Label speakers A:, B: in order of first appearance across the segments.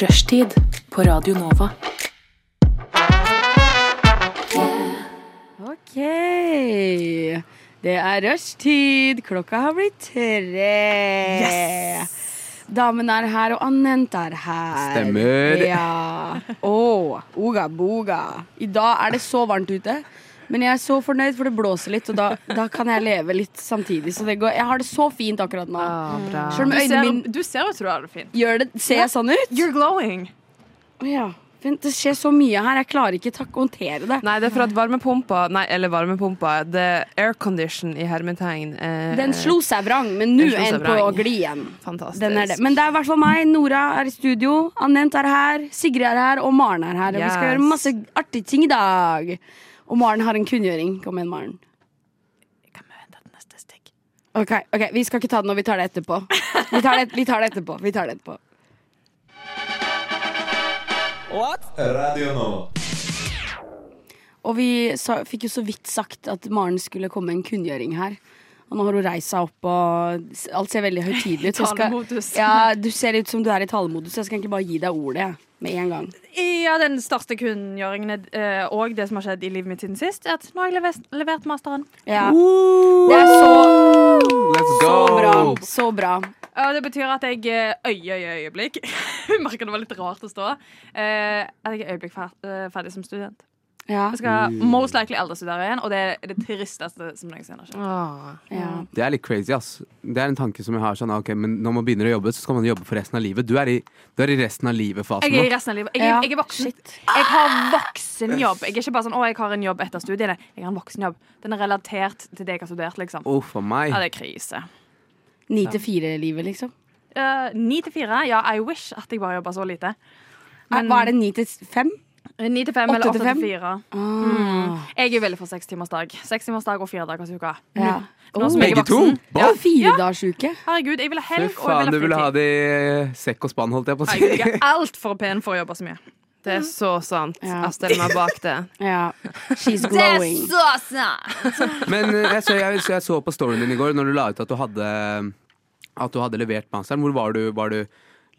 A: Rushtid på Radio Nova.
B: Ok. Det er rushtid. Klokka har blitt tre. Yes! Damen er her, og Anent er her.
C: Stemmer.
B: Ja. Å, Oga boga. I dag er det så varmt ute. Men jeg er så fornøyd, for det blåser litt, og da, da kan jeg leve litt samtidig. Så det går. Jeg har det så fint akkurat nå.
D: Mm.
B: Selv om
E: Du
B: øynene
E: ser,
B: mine
E: du ser ut som du har det fint.
B: gjør det Ser jeg sånn ut?
E: You're glowing.
B: Å Ja. Vent, det skjer så mye her. Jeg klarer ikke tak håndtere det.
D: Nei, det er for at varmepumpa Nei, eller varmepumpa Det er aircondition i hermetegn eh,
B: Den slo seg vrang, men nå
D: Den slo
B: er den
D: seg
B: på
D: vrang.
B: glid igjen.
D: Fantastisk
B: Den er det. Men det er i hvert fall meg. Nora er i studio. Anent er her. Sigrid er her. Og Maren er her. Og vi skal
D: Yes.
B: gjøre masse artige ting i dag. Og Maren har en kunngjøring. Kom igjen, Maren. Ok, ok, Vi skal ikke ta det nå. Vi tar det etterpå. Vi tar det, vi tar det etterpå. Vi tar det etterpå.
F: Radio Nova.
B: Og vi sa, fikk jo så vidt sagt at Maren skulle komme med en kunngjøring her. Og nå har hun reist seg opp, og s- alt ser veldig høytidelig ut. så jeg skal-
E: Talemodus.
B: Ja, du ser ut som du er i talemodus. så Jeg skal egentlig bare gi deg ordet jeg, med en gang.
E: Ja, den største kunngjøringen er, eh, og det som har skjedd i livet mitt siden sist, er at nå har jeg levert, levert masteren.
B: Ja. Det er så,
C: Let's go!
B: så bra. Så bra.
E: Og det betyr at jeg eh, øye, øye, øyeblikk Merker det var litt rart å stå. eh, at jeg er øyeblikk fer eh, ferdig som student.
B: Ja.
E: Jeg skal most likely eldrestudere igjen, og det er det tristeste som noensinne har skjedd.
D: Åh.
B: ja.
C: Det er litt crazy, ass. Det er en tanke som jeg har sånn, ok, men når man begynner å jobbe, så skal man jobbe for resten av livet. Du er i, du er i resten av livet-fasen
E: Jeg er i
C: nå.
E: resten av livet. Jeg,
B: Ja.
E: er- jeg er voksen. Jeg har voksenjobb. Jeg er ikke bare sånn 'Å, jeg har en jobb etter studiene'. Jeg har en voksenjobb. Den er relatert til det jeg har studert, liksom.
C: Å, for meg.
E: Ja, det er krise.
B: Ni til fire-livet, liksom.
E: Eh, Ni til fire. Ja, I wish at jeg bare jobber så lite. Men-
B: Hva er det, ni til fem? Ah.
E: Ni til fem
B: Åtte
E: eller
B: til
E: åtte
B: fem?
E: til fire. Jeg er veldig for sekstimersdag. Sekstimersdag og fire dagers uke.
B: Ja.
E: Nå som jeg er
C: Begge to?
E: voksen.
B: Oh. Ja, Firedagersuke.
E: Herregud, jeg vil ha
C: Fy
E: helg og
C: faen,
E: jeg
C: du
E: vil
C: ville
E: ha
C: ha
E: fritid.
C: det i eh, sekk og spann, holdt jeg på å si.
E: Herregud, jeg er altfor pen for å jobbe så mye.
D: Det er så sant
B: Mm. Ja.
D: Jeg stiller meg bak det
B: Ja. She's glowing.
C: Men eh, jeg så, jeg, så jeg så på storyen din i går når du la ut at du hadde, at du hadde levert masteren. Hvor var du? Var du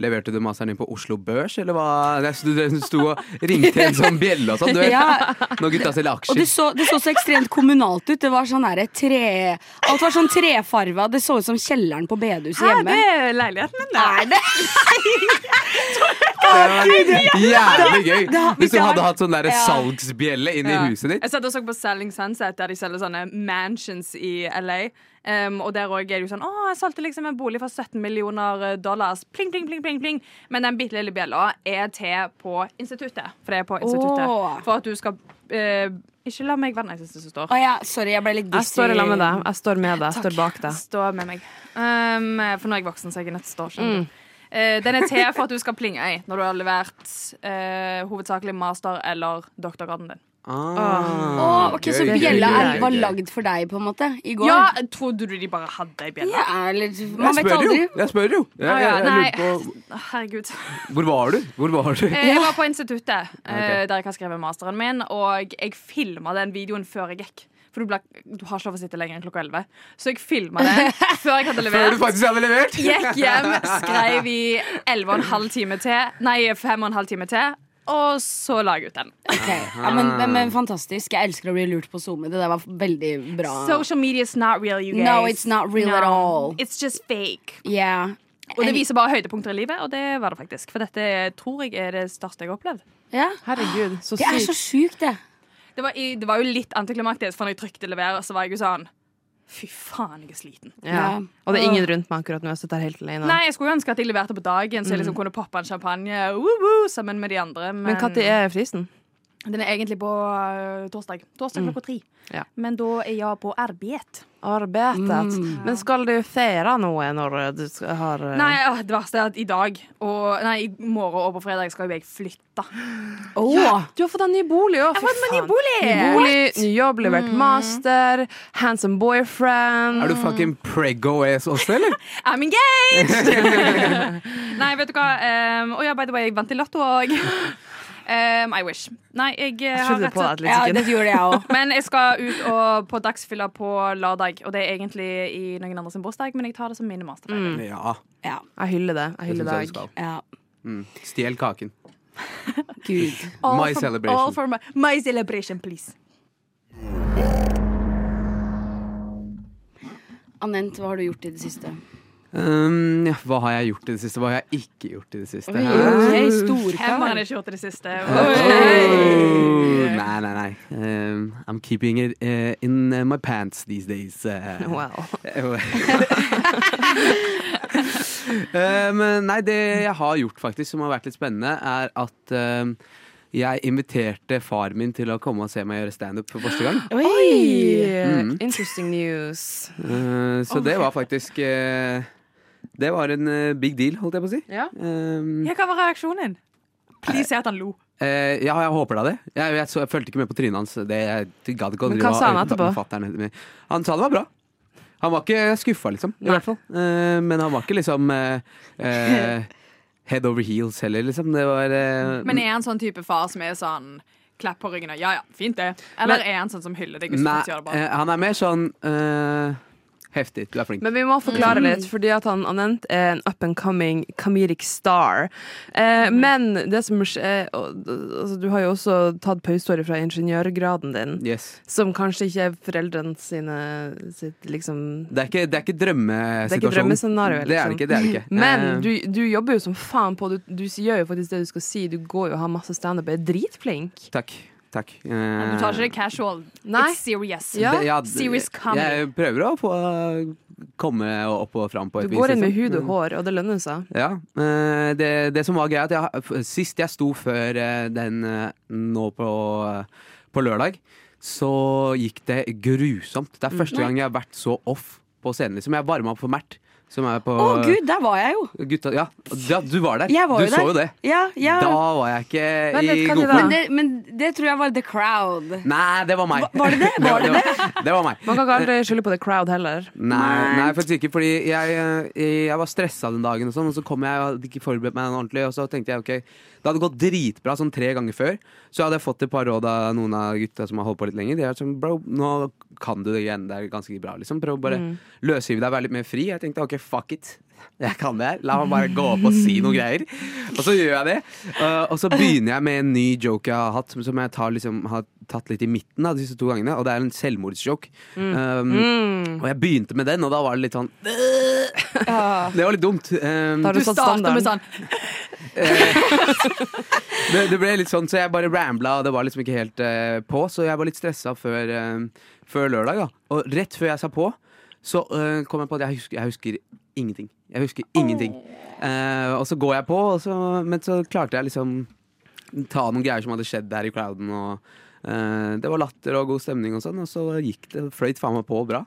C: Leverte du masteren din på Oslo Børs, eller hva? Jeg så Du du sto og ringte en sånn bjelle og sånn, du vet.
B: Ja.
C: Når gutta selger
B: Og det
C: aksjer.
B: så, det så så ekstremt kommunalt ut. Det var sånn derre tre... Alt var sånn trefarva. Det så ut som kjelleren på bedehuset
E: Hæ,
B: hjemme.
E: det er leiligheten min, det.
B: det?
C: Det var jævlig gøy!
B: har-
C: Hvis du
B: det har-
C: hadde hatt sånn derre
B: Ja.
C: salgsbjelle inn i
E: Ja.
C: huset ditt.
E: Jeg satt og så på Selling Sunset, der de selger sånne mansions i LA. Um, og der også er det jo sånn Å, jeg solgte liksom en bolig for 17 millioner eh, dollars. Pling, pling, pling, pling, pling. Men den bitte lille bjella er til på instituttet. For det er på instituttet.
B: Åh.
E: For at du skal eh, Ikke la meg være den eneste som står.
B: Å ja, sorry, jeg ble litt
D: Jeg står i lag med deg Jeg står med deg Jeg
B: Takk.
D: står bak deg
E: Stå med meg. Um, for nå er jeg voksen, så jeg er nødt til å stå. skjønner du. Eh, den er til for at du skal plinge i når du har levert eh, hovedsakelig master- eller doktorgraden din.
C: Ah,
B: Å, ok, Så
C: gøy, gøy,
B: bjella
C: gøy,
B: er,
C: gøy,
B: var
C: gøy.
B: lagd for deg, på en måte? I går?
E: Ja, Trodde du de bare hadde ei bjelle?
B: ja eller,
C: Jeg
B: Man vet
C: spør jo!
B: aldri.
C: Jeg spør jo! Jeg,
E: ja,
C: jeg, jeg
E: nei.
C: lurer på
E: Herregud.
C: Hvor var du? Hvor var du?
E: Eh, Jeg var på instituttet eh,
C: Ok.
E: der jeg har skrevet masteren min, og jeg filma den videoen før jeg gikk. For du, ble, du har ikke lov å sitte lenger enn klokka 11. Så jeg filma den før jeg
C: Før
E: hadde
C: du
E: levert.
C: faktisk hadde levert?
E: Gikk hjem, skrev i 11 og en halv time til. Nei, 5 og en halv time til. Og så la jeg ut den.
B: Ok, ja, men, men, men fantastisk. Jeg elsker å bli lurt på SoMe. Det der var veldig bra.
E: Social media is not real, you guys.
B: No, it's not real at all.
E: It's just fake.
B: yeah.
E: Og det viser bare høydepunkter i livet, og det var det faktisk. For dette tror jeg er det største jeg har opplevd.
B: Ja.
D: Herregud, så
B: Det er så
D: sykt
B: sjukt, det.
E: Det var, i, det var jo litt antiklimaktisk, for når jeg trykte lever, så var jeg jo sånn Fy faen, jeg er sliten.
D: ja.
B: Ja.
D: Og det er ingen rundt meg akkurat nå Jeg sitter her helt alene
E: Nei, Jeg skulle jo ønske at jeg leverte på dagen, så jeg liksom kunne poppe en champagne woo -woo, sammen med de andre. Men,
D: Men når er fristen?
E: den er egentlig på øh, torsdag. Torsdag klokka tre.
D: Ja.
E: Men da er jeg på E arbeid.
D: Arbeidet
B: Mm.
D: Men skal du feire noe når du skal- har eh,
E: Nei, åh, det verste er at i dag og Nei, i morgen og på fredag skal jo jeg flytte.
B: Åh,
D: Du har fått en ny bolig òg,
E: Jeg har fått meg ny bolig!
D: Ny bolig, ny jobb, levert master, handsome
C: Mm.
D: boyfriend.
C: Er du fucking preggo-ass også, eller?
E: I'm engaged! Nei, vet du hva. Um, oh, ja, by the way, jeg vant i Lotto òg. Um, I wish. Nei, jeg, eh,
D: Jeg
E: har
D: trodde
E: rett
D: på
E: og
D: deg et
B: Ja,
D: lite
B: det
D: sekund.
B: gjorde jeg òg.
E: Men jeg skal ut og på dagsfylla på lørdag, og det er egentlig i
C: Mm.
E: noen andre sin bursdag, men jeg tar det som min masterfeiring.
C: Ja.
B: Ja,
D: Jeg hyller det.
C: Det
D: Jeg hyller
C: synes jeg du
D: deg.
C: skal.
B: ja.
C: Mm. Stjel kaken.
B: Gud.
C: My
E: for-
C: celebration.
E: all for my, my celebration, please.
B: Anent, hva har du gjort i det siste?
C: Um, ja, hva har jeg gjort i det siste? Hva har jeg ikke gjort i det siste?
B: Ok,
E: Hvem har
B: storkar.
E: ikke gjort det siste?
C: Oh, nei, nei, nei. Um, I'm keeping it uh, in uh, my pants these days. Uh,
D: Wow.
C: Eh, men nei, det jeg har gjort faktisk som har vært litt spennende, er at eh, jeg inviterte far min til å komme og se meg gjøre standup for første gang.
D: Oi!
C: Mm.
D: Interesting news.
C: Eh, så det var faktisk eh, Det var en eh, big deal, holdt jeg på å si.
D: Ja.
C: Eh,
E: Ja, hva var reaksjonen? Please si at han lo.
C: Eh, ja, jeg håper da det. Jeg, jeg, så, jeg fulgte ikke med på trynet hans. Det, jeg, gadd ikke å
D: Men
C: drive
D: hva sa han
C: og-
D: etterpå?
C: fatteren etter meg. Han sa det var bra. Han var ikke skuffa, liksom. I hvert fall. Eh, men han var ikke liksom eh, eh, head over heels heller, liksom. Det var eh,
E: Men er han sånn type far som er sånn klapp på ryggen og ja, ja, fint det? Eller
D: Men-
E: er han sånn som hyller deg hvis du
C: nei,
E: ikke gjør det bra?
C: eh, han er mer sånn eh, heftig. Du er flink.
D: Men vi må
C: Mm.
D: forklare litt, fordi at han Anent er en up and coming comedic star. Eh,
C: Mm.
D: men det som skjer og- altså, Du har jo også tatt pauseåret fra ingeniørgraden din,
C: yes.
D: som kanskje ikke er foreldrene sine sitt liksom
C: Det er ikke, det er ikke drømmesituasjonen.
D: Det er ikke drømmescenario,
C: Det er det
D: liksom.
C: ikke. Det er det ikke. Eh,
D: Men du, du jobber jo som faen på Du, du gjør jo faktisk det du skal si. Du går jo og har masse standup. Er dritflink.
C: Takk. Takk. Eh,
E: Du tar ikke det casual.
D: Nei.
E: It's serious.
D: Ja.
C: det- ja,
E: Serious comedy.
C: Jeg prøver å få, komme opp og fram på
D: Du
C: et
D: går inn med
C: liksom.
D: hud og hår, og det lønner seg.
C: Ja. eh, Det, det som var greia, at jeg, f- sist jeg sto før eh, den eh, nå på, på lørdag, så gikk det grusomt. Det
B: Mm,
C: er første gang jeg har vært så off på scenen. Liksom. Jeg varma opp for Mert. Som er på
B: Å gud, der var jeg jo!
C: gutta, ja, ja, du var der.
B: Jeg var
C: du
B: jo
C: så
B: der.
C: jo det.
B: Ja, ja.
C: Da var jeg ikke
D: Men
C: i
D: vet hva
C: god
D: de da-
B: Men, det, men det tror jeg var the crowd.
C: Nei, det var meg.
B: Var- var det det? Var det
C: var- det var meg.
D: Man kan ikke aldri skylde på the crowd heller.
C: Nei, nei, faktisk ikke. Fordi jeg, eh, jeg var stressa den dagen, og, sånn, og så kom jeg og hadde ikke forberedt meg ordentlig. Og så tenkte jeg ok, det hadde gått dritbra sånn tre ganger før. Så hadde jeg fått et par råd av noen av gutta som har holdt på litt lenger. De er sånn, bro, nå kan du det igjen. Det er ganske bra. liksom Prøv å bare løsrive deg, være litt mer fri. Jeg tenkte ok, fuck it. Jeg kan det her. La meg bare gå opp og si noen greier. Og så gjør jeg det. Eh, og så begynner jeg med en ny joke jeg har hatt, som- som jeg tar, liksom, har tatt litt i midten av disse to gangene. Og det er en selvmordsjoke. Um, og jeg begynte med den, og da var det litt sånn Det var litt dumt. Um,
D: Da har
E: Du
D: du satt
E: starter med
D: standarden.
E: sånn
C: det, det ble litt sånn, så jeg bare rambla, og det var liksom ikke helt eh, på. Så jeg var litt stressa før, eh, før lørdag, da. Og rett før jeg sa på, så eh, kom jeg på at jeg husker, jeg husker ingenting. Jeg husker ingenting. Eh, og så går jeg på, og så, men så klarte jeg liksom ta noen greier som hadde skjedd der i crowden. Og, eh, det var latter og god stemning og sånn, og så gikk det fløyt faen meg på bra.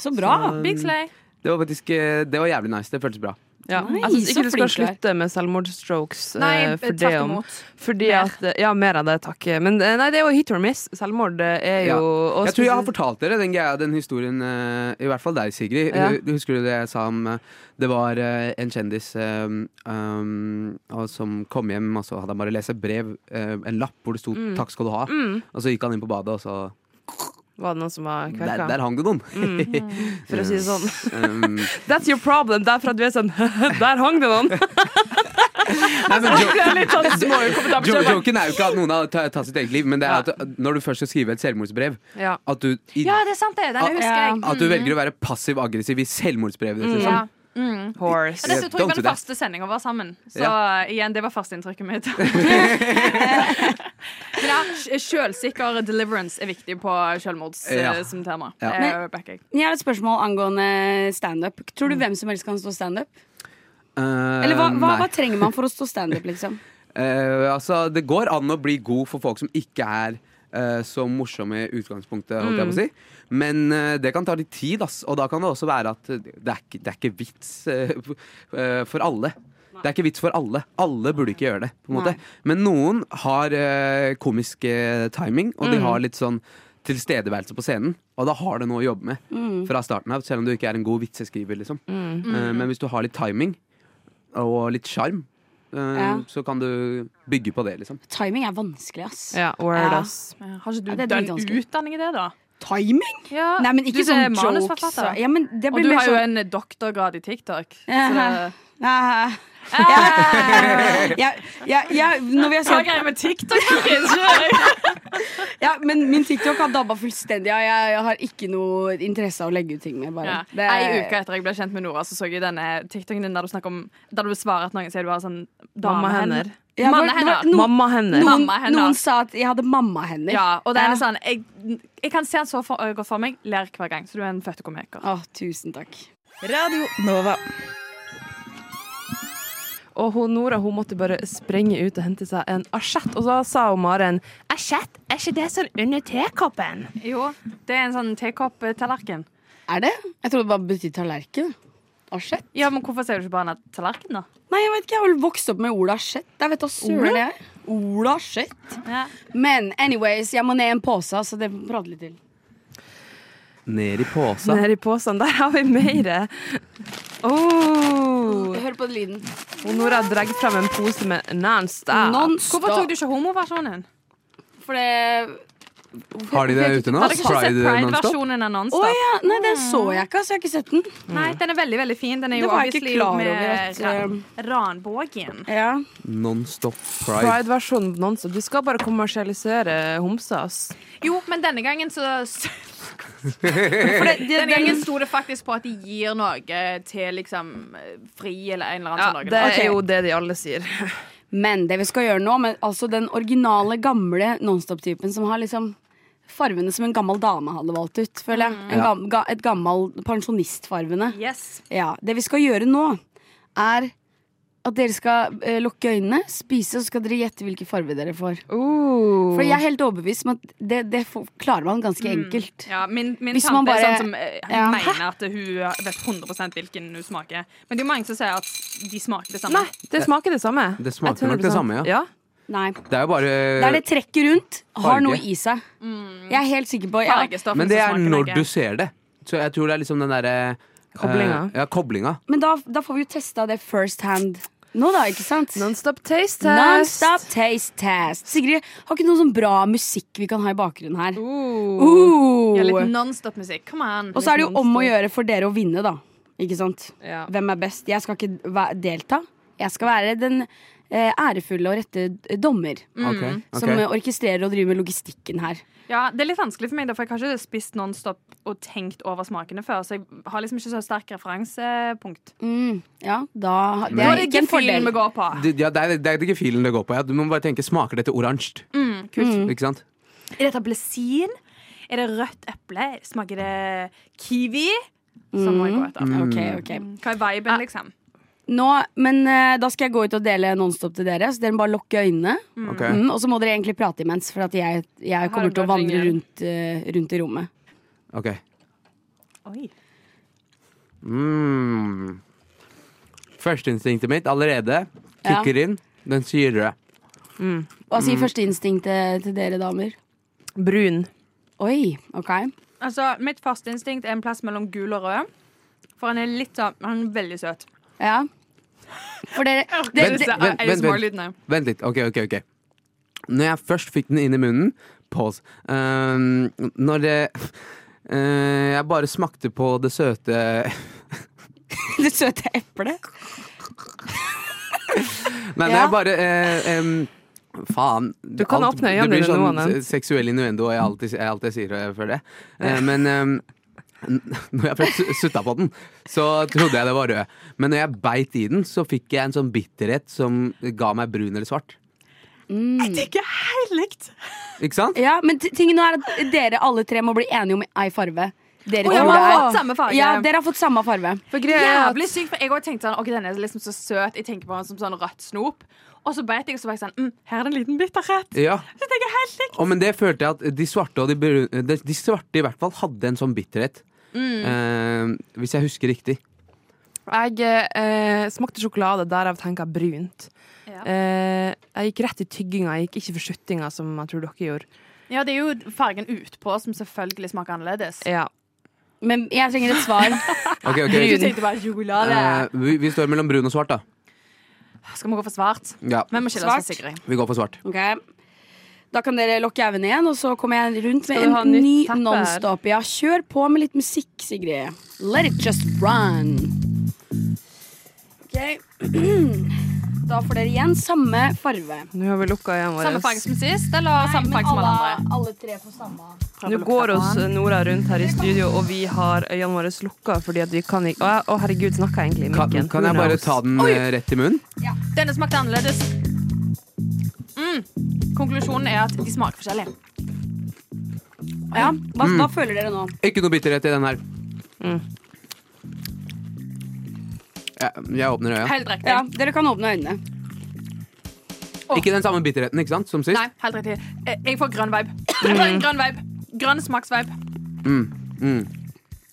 B: Så bra!
E: Big slay.
C: Det var faktisk eh, Det var jævlig nice. Det føltes bra.
D: Ja.
B: Nei,
D: jeg syns
B: så
D: ikke du skal
B: flink du er.
D: slutte med selvmordsstrokes. eh,
E: Nei,
D: for det
E: tvert
D: om-
E: imot.
D: Fordi at, eh, ja, mer av det, takk. Men eh, nei, det er jo hit or miss. Selvmord eh, er
C: Ja.
D: jo og
C: Jeg tror jeg har
D: spesielt-
C: fortalt dere den, greia, den historien, eh, i hvert fall deg, Sigrid.
D: Ja.
C: Hu- Husker du det jeg sa om eh, Det var eh, en kjendis eh, um, og som kom hjem, og så hadde han bare lest et brev, eh, en lapp hvor det sto 'takk skal du
E: Mm.
C: ha', og så gikk han inn på badet, og så
D: Var det noen som var
C: Der,
D: kverka?
C: der hang det noen!
D: For å si det sånn.
C: um,
D: That's your problem. Derfra du er sånn Der hang det noen!
C: nei, men jo,
E: Det er litt sånn små
C: jo,
E: ukomfortable.
C: joken er jo ikke at noen har ta- tatt sitt eget liv, men det er at når du først skal skrive et selvmordsbrev,
D: Ja.
C: at du, i,
E: Ja, det er sant, det. Den
C: at,
E: husker jeg.
C: at Ah, du velger å være passiv-aggressiv i selvmordsbrevet ditt. Liksom.
E: Ja. Mm.
D: Horse.
E: Og det tror jeg
C: Don't
E: var
C: do
E: den
C: that.
E: første sendinga vår sammen. Så
C: Ja.
E: igjen, det var førsteinntrykket mitt. Men ja, sj- Sjølsikker deliverance er viktig på sjølmords
C: Ja.
E: eh, som tema.
C: Ja.
E: Eh,
B: Men-
E: backer jeg.
B: Jeg har et spørsmål angående standup. Tror du hvem som helst kan stå standup?
C: Mm. Eh,
B: Eller hva, hva,
C: nei.
B: hva trenger man for å stå standup, liksom?
C: Eh, altså, det går an å bli god for folk som ikke er eh, så morsomme i utgangspunktet, holdt jeg på å si. Men eh, det kan ta litt tid, ass. Og da kan det også være at det er ikke, det er ikke vits eh, eh, for alle. Det er ikke vits for alle. Alle burde ikke gjøre det. på en måte Men noen har eh, komisk eh, timing, og de har litt sånn tilstedeværelse på scenen. Og da har du noe å jobbe med
B: Mm.
C: fra starten av, selv om du ikke er en god vitseskriver. Liksom. Eh, men hvis du har litt timing og litt sjarm, eh,
B: Ja.
C: så kan du bygge på det, liksom.
B: Timing er vanskelig, ass.
D: Ja, word,
B: Ja.
D: ass.
E: Ja, Har ikke
B: Ja,
E: du
B: det er
E: den
B: dritvanskelig.
E: utdanning i det, da?
B: Timing?
E: Ja.
B: Nei, men
E: Ah, du
B: ikke
E: som er
B: sånn jokes.
E: manusforfatter.
B: Ja, men det
E: Og
B: blir sånn,
E: du
B: mer
E: har jo
B: sånn
E: en doktorgrad i TikTok. Så
B: Ja.
E: det,
B: Nei,
E: Eh,
B: Jeg, jeg, jeg, når vi har
E: Hva er
B: sett
E: greia med TikTok, Markus?
B: Ja, men min TikTok har dabba fullstendig av. Jeg, jeg har ikke noe interesse av å legge ut ting mer. Bare.
E: Ja.
B: Det-
E: Ei uke etter jeg ble kjent med Nora, så så jeg denne TikToken din der du snakker om Der du svarer at noen sier du har sånn
D: Mammahender.
E: damehender.
B: Ja, det var- det var
E: Mannehender.
B: noen-
D: Mammahender.
B: Noen,
E: Mammahender.
B: noen sa at jeg hadde mammahender.
E: Ja, og det er
B: Ja.
E: sånn jeg, jeg kan se den så for, godt for meg. Ler hver gang. Så du er en føttekomiker.
B: Å, tusen takk.
G: Radio Nova.
D: Og hun, Nora hun måtte bare sprenge ut og hente seg en asjett. Og da sa hun Maren Asjett, er ikke det sånn under tekoppen?
E: Jo, det er en sånn tekopp-tallerken.
B: Er det? Jeg trodde det bare betydde tallerken. Asjett?
E: Ja, men hvorfor sier du ikke bare en tallerken, da?
B: Nei, jeg vet ikke. Jeg har vel vokst opp med ordet asjett. Jeg vet da søren det er. Ola Asjett.
E: Ja.
B: Men anyways, jeg må ned i en pose, så det prater litt til.
C: Ned i posa.
D: Nedi posen. Der har vi mer. Oh.
B: Hør på lyden.
D: Og Nora drar fram en pose med Nonstop.
B: Non-stop.
E: Hvorfor tok du ikke homoversjonen?
B: For det
C: Har de det ute nå?
E: Har dere ikke sett
C: Pride nonstop?
E: Pride-versjonen av
B: Å
E: Nonstop?
B: ja! Nei, den så
E: Mm.
B: jeg ikke, så jeg har ikke sett den.
E: Nei, den er veldig veldig fin. Den er
B: Det
E: jo
B: var jeg ikke
E: obviously
B: klar
E: med
B: over at,
E: Ran- Ranvågen.
B: Ja.
C: Nonstop pride.
D: Pride-versjonen av Nonstop. Du skal bare kommersialisere homser, ass.
E: Jo, men denne gangen så For det, Denne gangen sto det faktisk på at de gir noe til liksom Fri eller en eller annen
D: Ja,
E: sånn noe.
D: det
B: Ok.
D: er jo det de alle sier.
B: Men det vi skal gjøre nå, men altså den originale, gamle nonstop-typen som har liksom farvene som en gammel dame hadde valgt ut, føler jeg. En gam, ga, et gammel pensjonistfarvene.
E: Yes.
B: Ja, det vi skal gjøre nå, er at dere skal eh, lukke øynene, spise, og så skal dere gjette hvilken farve dere får.
E: Uh.
B: For jeg er helt overbevist om at det, det får, klarer man ganske enkelt.
E: Mm. Ja, min min
B: Hvis
E: tante
B: man
E: er
B: bare-
E: sånn som eh,
B: Ja.
E: mener at hun vet 100 hvilken hun smaker. Men det er jo mange som sier at de smaker det samme.
D: Nei, det smaker det samme.
C: Det smaker
D: Jeg tror liksom-
C: nok det samme, ja.
D: ja.
B: Nei.
C: Det er jo bare
B: Det er det trekket rundt har
C: farge.
B: noe i seg.
E: Mm.
B: Jeg er helt sikker på ja,
E: Fargestoffene
C: Men det
E: som
C: er
E: smaker
C: når
E: noe.
C: du ser det. Så jeg tror det er liksom den derre eh,
D: Koblinga.
C: Ja, koblinga.
B: Men da, da får vi jo testa det first hand nå, da, ikke sant?
D: Nonstop taste test.
B: Non-stop taste test. Sigrid, har ikke noe sånn bra musikk vi kan ha i bakgrunnen her?
D: Uh.
B: Oh.
E: ja, Litt nonstop-musikk. Come on. Liksom.
B: Og så er det jo om å
D: nonstop.
B: gjøre for dere å vinne, da. Ikke sant?
D: Ja.
B: Hvem er best? Jeg skal ikke væ- delta. Jeg skal være den eh, ærefulle og rette d- dommer.
D: Mm.
C: Ok, ok.
B: Som eh, orkestrerer og driver med logistikken her.
E: Ja, det er litt vanskelig for meg, da, for jeg har ikke spist nonstop og tenkt over smakene før. Så jeg har liksom ikke så sterk referansepunkt.
B: Mm, ja, da Det
E: Nå
B: er
E: er
B: ikke en
E: gefühlen
B: fordel.
E: vi går på.
C: Det, ja, det, er, det er ikke filen det går på. Ja. Du må bare tenke smaker dette oransje. Ikke sant?
E: Er dette appelsin? Er det rødt eple? Smaker det kiwi? Sånn må jeg gå
C: Mm.
E: etter.
B: Ok, ok
E: Hva er viben, liksom?
B: Nå, men eh, Da skal jeg gå ut og dele Nonstop til dere, så dere må bare lukke øynene.
C: Ok.
B: Mm, og så må dere egentlig prate imens, for at jeg, jeg kommer
E: du
B: til å
E: bare
B: vandre
E: ringer.
B: rundt, eh, rundt i rommet.
C: Ok.
E: Oi.
C: Mm. Førsteinstinktet mitt allerede kicker inn. Den sier det.
B: Hva sier førsteinstinktet til dere damer?
D: Brun.
B: Oi, ok.
E: Altså, mitt første instinkt er en plass mellom gul og rød. For han er litt sånn Han er veldig søt.
B: Ja. For dere, det,
C: Vent,
B: det,
C: vent, vent, vent.
E: ASMR-lydene.
C: Vent litt. Ok, ok, ok. Når jeg først fikk den inn i munnen Pause. Ehm, når det eh, Jeg bare smakte på det søte
B: det søte eplet.
C: Nei,
B: Ja.
C: jeg bare eh, em, Faen. Du
D: kan åpne øynene
C: Det blir
D: dine nå,
C: sånn
D: Anette.
C: seksuell innuendo jeg alltid, jeg alltid sier eh, før det. Eh, men em, n- når jeg først su- sutta på den, så trodde jeg det var rød. Men når jeg beit i den, så fikk jeg en sånn bitterhet som ga meg brun eller svart.
E: Det er ikke helt likt.
C: Ikke sant?
B: Ja, men t- tingen nå er at dere alle tre må bli enige om ei farve. Dere
E: Å,
B: tror det
E: ja, vi har
B: er-
E: fått samme farge.
B: Ja, dere har fått samme farve.
D: For greia er at
E: Jævlig sykt. For jeg også tenkte sånn OK, den er liksom så søt. Jeg tenker på den som sånn rødt snop. Og så beit jeg, og så var jeg sånn mm, Her er det en liten bitterhet.
C: Ja.
E: Så det er ikke helt likt.
C: Å, men det følte jeg at de svarte, og de, brune, de, de svarte i hvert fall hadde en sånn bitterhet.
E: Mm.
C: Eh, hvis jeg husker riktig.
D: Jeg eh, smakte sjokolade, derav tenker jeg brunt.
E: Ja.
D: Eh, jeg gikk rett i tygginga, jeg gikk ikke for skjuttinga, som jeg tror dere gjorde.
E: Ja, det er jo fargen utpå som selvfølgelig smaker annerledes.
D: Ja.
B: Men jeg trenger et svar.
C: Ok, ok.
E: Du tenkte bare sjokolade.
C: Eh, vi, vi står mellom brun og svart, da.
E: Skal vi gå for svart?
C: Ja,
E: Vi må skille oss fra Sigrid.
C: Vi går for svart.
B: Ok Da kan dere lukke øynene igjen, og så kommer jeg rundt med
D: du ha
B: en
D: nytt
B: ny
D: teppe her?
B: nonstop. Ja, kjør på med litt musikk, Sigrid. Let it just run. Da får dere igjen samme farve.
D: Nå har vi lukka øynene våre.
E: Samme farge som sist, eller samme farge som alle andre?
B: alle tre får samme.
D: Nå går oss eh, Nora rundt her i studio, og vi har øynene våre lukka fordi at vi kan ikke Å, å, herregud, snakker jeg egentlig i
C: Kan,
D: mikken?
C: kan jeg
D: Who
C: bare
D: knows?
C: ta den eh, rett i munnen?
E: Denne smakte annerledes. Mm. Konklusjonen er at de smaker forskjellig.
B: Ja, hva,
C: Mm.
B: hva føler dere nå?
C: Ikke noe bitterhet i den her.
E: Mm.
C: Jeg, jeg åpner øya.
E: Helt riktig.
B: Ja, dere kan åpne øynene.
C: Ikke den samme bitterheten ikke sant, som sist.
E: Nei, helt riktig. Eh, Jeg får grønn vibe. Jeg får en grønn vibe. Grønn smaksvibe.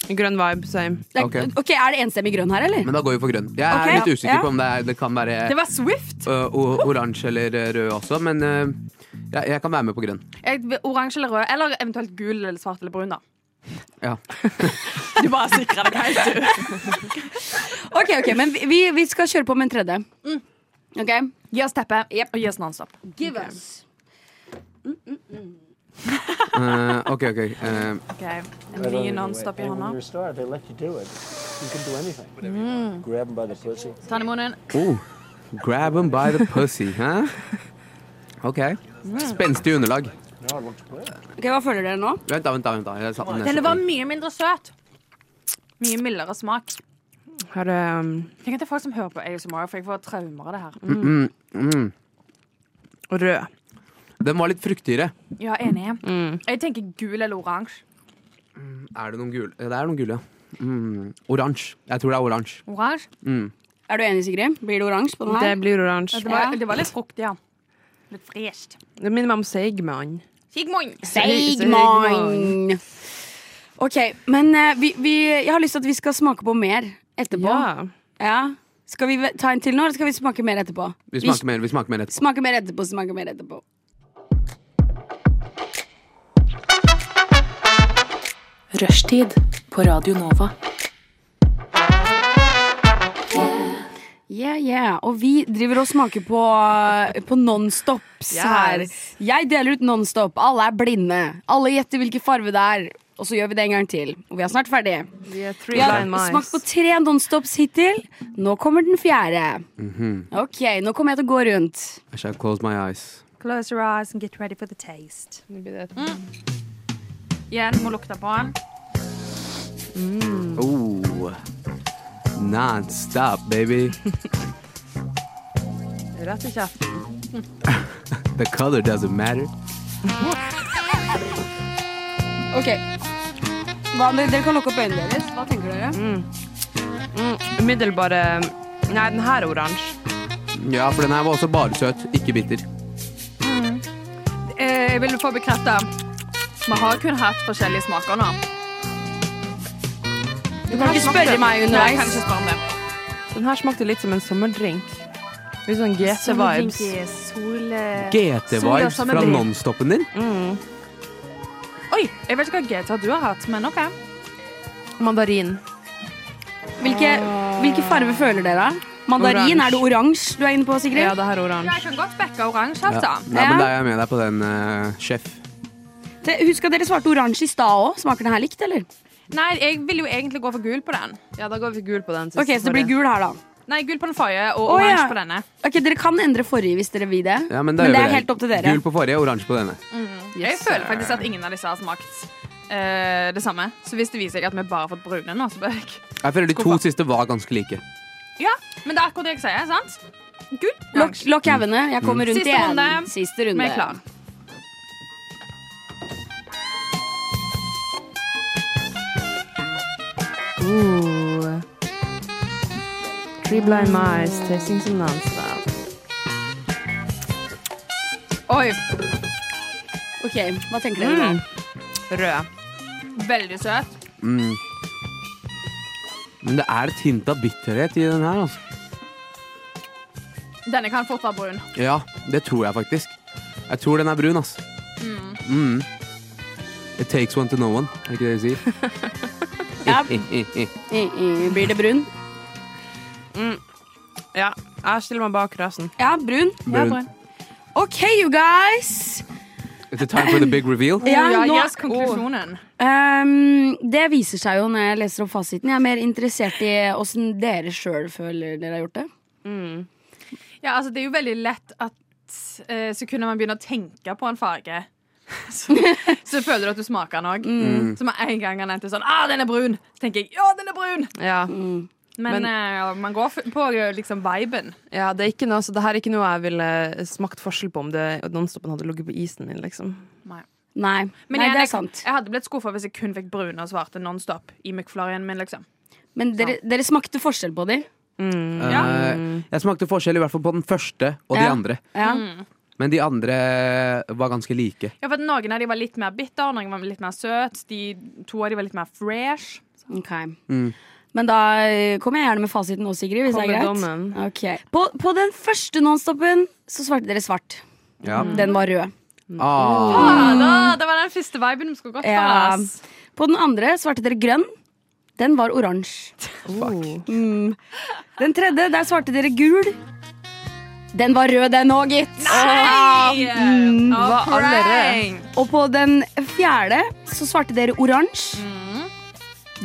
D: Grønn vibe, same.
B: Det er,
C: Ok.
B: ok, Er det enstemmig grønn her, eller?
C: Men da går vi for grønn. Jeg er
B: Ok,
C: litt usikker
B: ja.
C: på om det, er, det kan være
E: Det var Swift.
C: ø, o- oransje eller ø, rød også, men ø, jeg, jeg kan være med på grønn.
E: Jeg- Oransje eller rød, eller eventuelt gul eller svart eller brun. da
C: Ja.
E: Du bare sikrer deg helt. du.
B: Ok, ok, Men vi- vi, vi skal kjøre på med en tredje. Ok?
E: Gi oss teppe og gi oss Nonstop.
B: Give us.
C: Eh, ok, ok. eh,
E: Okay. En ny Nonstop i
G: And when
E: hånda.
G: you're a star, they let you do it. You can do anything. Grab them by the pussy.
E: Ta den i munnen.
C: oh, grab him by the pussy. Hæ? Ok. Spenstig underlag.
G: No, it looks great.
B: Ok, Hva føler dere nå?
C: Vent, da, vent, da. vent da Jeg satte den
E: Den var
C: nesten.
E: mye mindre søt. Mye mildere smak.
D: Her er um,
E: Tenk at det er folk som hører på ASMR, for jeg får traumer av det her.
D: rød.
C: Den var litt fruktigere.
E: Ja, enig. Jeg tenker gul eller oransje.
C: Er det noen gule? Det er noen gule, ja. Mm, oransje. Jeg tror det er oransje.
E: Oransje?
B: Er du enig, Sigrid? Blir det oransje på den
D: Det
B: her?
D: blir
E: Ja,
D: oransje.
E: Det, var-
B: Ja.
E: det var litt frukt, ja. Litt fresht.
D: Det minner meg om seigmann.
E: Sigmund!
B: Seigmann! Ok, men eh, vi, vi, jeg har lyst til at vi skal smake på mer etterpå.
D: Ja.
B: Ja. Skal vi ve- ta en til nå, eller skal vi smake mer etterpå?
C: Vi smaker mer, vi smaker mer etterpå.
B: Smaker mer etterpå, smaker mer etterpå.
A: Rushtid på Radio Nova.
B: Yeah, yeah. Og vi driver og smaker på, på nonstops her. Jeg deler ut nonstop. Alle er blinde. Alle gjetter hvilken farve det er. Og så gjør vi det en gang til. Og vi er snart ferdige.
D: Vi er
B: Vi
D: three
B: har
D: blind mice.
B: smakt på tre nonstops hittil. Nå kommer den fjerde. Ok, nå kommer jeg til å gå rundt.
C: I shall close my eyes.
E: Close your eyes and get ready for the taste.
D: Det blir det.
E: Igjen, må lukte på den.
C: Oh. Non-stop, baby.
D: Rett i kjeften.
C: The color doesn't matter.
B: Ok. Hva, dere kan lukke opp øynene deres. Hva tenker dere?
D: Umiddelbare Nei, den her er oransje.
C: Ja, for den her var også bare søt, ikke bitter.
E: Eh, Jeg vil få bekrefta. Vi har kun hatt forskjellige smaker nå.
B: Du kan ikke spørre meg
E: Nei, jeg kan
B: underveis.
E: ikke spørre om det.
D: Den her smakte litt som en sommerdrink. Litt sånn GT-vibes.
E: eh.
C: GT-vibes
E: Sola
C: fra
E: sommerbil.
C: nonstopen din.
E: Oi, jeg vet ikke hva GTA du har hatt, men OK.
D: Mandarin.
B: Hvilke, hvilke farve føler dere? Mandarin?
D: Oransje.
B: Er det oransje du er inne på, Sigrid?
D: Ja, det her er oransje.
E: Jeg kan godt backe oransje, altså.
C: Nei, men
B: Ja.
C: da er jeg med deg på den, eh, sjef.
B: Te- Husk at dere svarte oransje i stad òg. Smaker den her likt, eller?
E: Nei, jeg vil jo egentlig gå for gul på den.
D: Ja, da går vi for gul på den.
B: Ok, Så det blir gul her, da.
E: Nei, gul på den forrige og
B: Å,
E: oransje
B: ja.
E: på denne.
B: Ok, Dere kan endre forrige hvis dere vil det.
C: Ja, men da gjør
B: det
C: vi
B: er helt opp til dere.
C: Gul på forrige, oransje på denne.
E: Jeg føler faktisk at ingen av disse har smakt eh, det samme. Så hvis det viser seg at vi bare har fått brune nå, så bør jeg
C: Jeg føler de to
E: Skuffa.
C: siste var ganske like.
E: Ja, men det er akkurat det jeg sier, sant? Gul,
B: Lokk
E: oransje.
B: lokk øynene. Jeg
C: Mm.
B: kommer rundt
E: Siste
B: igjen.
E: runde.
B: Siste
E: Vi
B: runde.
E: er klar.
D: Ooh. Three blind mice tasting some nonstop.
E: Oi,
B: Ok, Hva tenker dere nå?
D: Rød.
E: veldig søt.
C: Men det er et hint av bitterhet i den her, altså.
E: Denne kan fort være brun.
C: Ja, det tror jeg faktisk. Jeg tror den er brun, altså. Mm. It takes one to know one, er ikke det de sier?
B: Ja.
C: I, i, i.
E: Mm.
B: I- i- Blir det brun?
D: Ja, jeg stiller meg bak rasen.
B: Ja, brun.
E: Ja,
C: Brun.
E: brun.
B: Ok, you guys.
C: Is it time for the big reveal?
B: Ja,
E: Ja,
B: nå-
E: gi oss konklusjonen.
B: Ehm, det viser seg jo når jeg leser opp fasiten. Jeg er mer interessert i åssen dere sjøl føler dere har gjort det.
E: Ja, altså, det er jo veldig lett at eh, så kunne man begynne å tenke på en farge. Så, så føler du at du smaker den òg.
B: Mm.
E: Så med en gang han nevnte sånn ah, 'Den er brun!' Så tenker jeg 'Ja, den er brun!'
D: Ja.
E: Men,
D: Men-
E: eh, man går f- på eh, liksom viben.
D: ja, det er ikke noe, så det her er ikke noe jeg ville smakt forskjell på om det nonstopen hadde ligget på isen min, liksom.
B: Nei,
E: Men
B: Nei
E: jeg,
B: det er
E: jeg,
B: sant.
E: jeg hadde blitt skuffa hvis jeg kun fikk brune og svarte nonstop i McFlurryen min, liksom.
B: Men dere, dere smakte forskjell på dem.
E: Ja.
C: Eh, jeg smakte forskjell i hvert fall på den første og de
B: Ja.
C: andre.
B: Ja.
C: Men de andre var ganske like.
E: Ja, for at Noen av de var litt mer bitter, noen var litt mer søt. De to av de var litt mer fresh.
B: Ok. Men da eh, kommer jeg gjerne med fasiten nå, Sigrid. Hvis
D: Kom
B: det er
D: med
B: greit.
D: dommen.
B: Ok. På, på den første nonstopen så svarte dere svart.
C: Ja.
B: Den var rød.
C: Ah.
E: Ah, da, det var den første viben vi skulle gått for.
B: Ja.
E: ass.
B: På den andre svarte dere grønn. Den var oransje. Mm. Den tredje, der svarte dere gul. Den var rød, den òg, gitt.
E: Yeah. Mm,
D: var alle
B: Og på den fjerde så svarte dere oransje.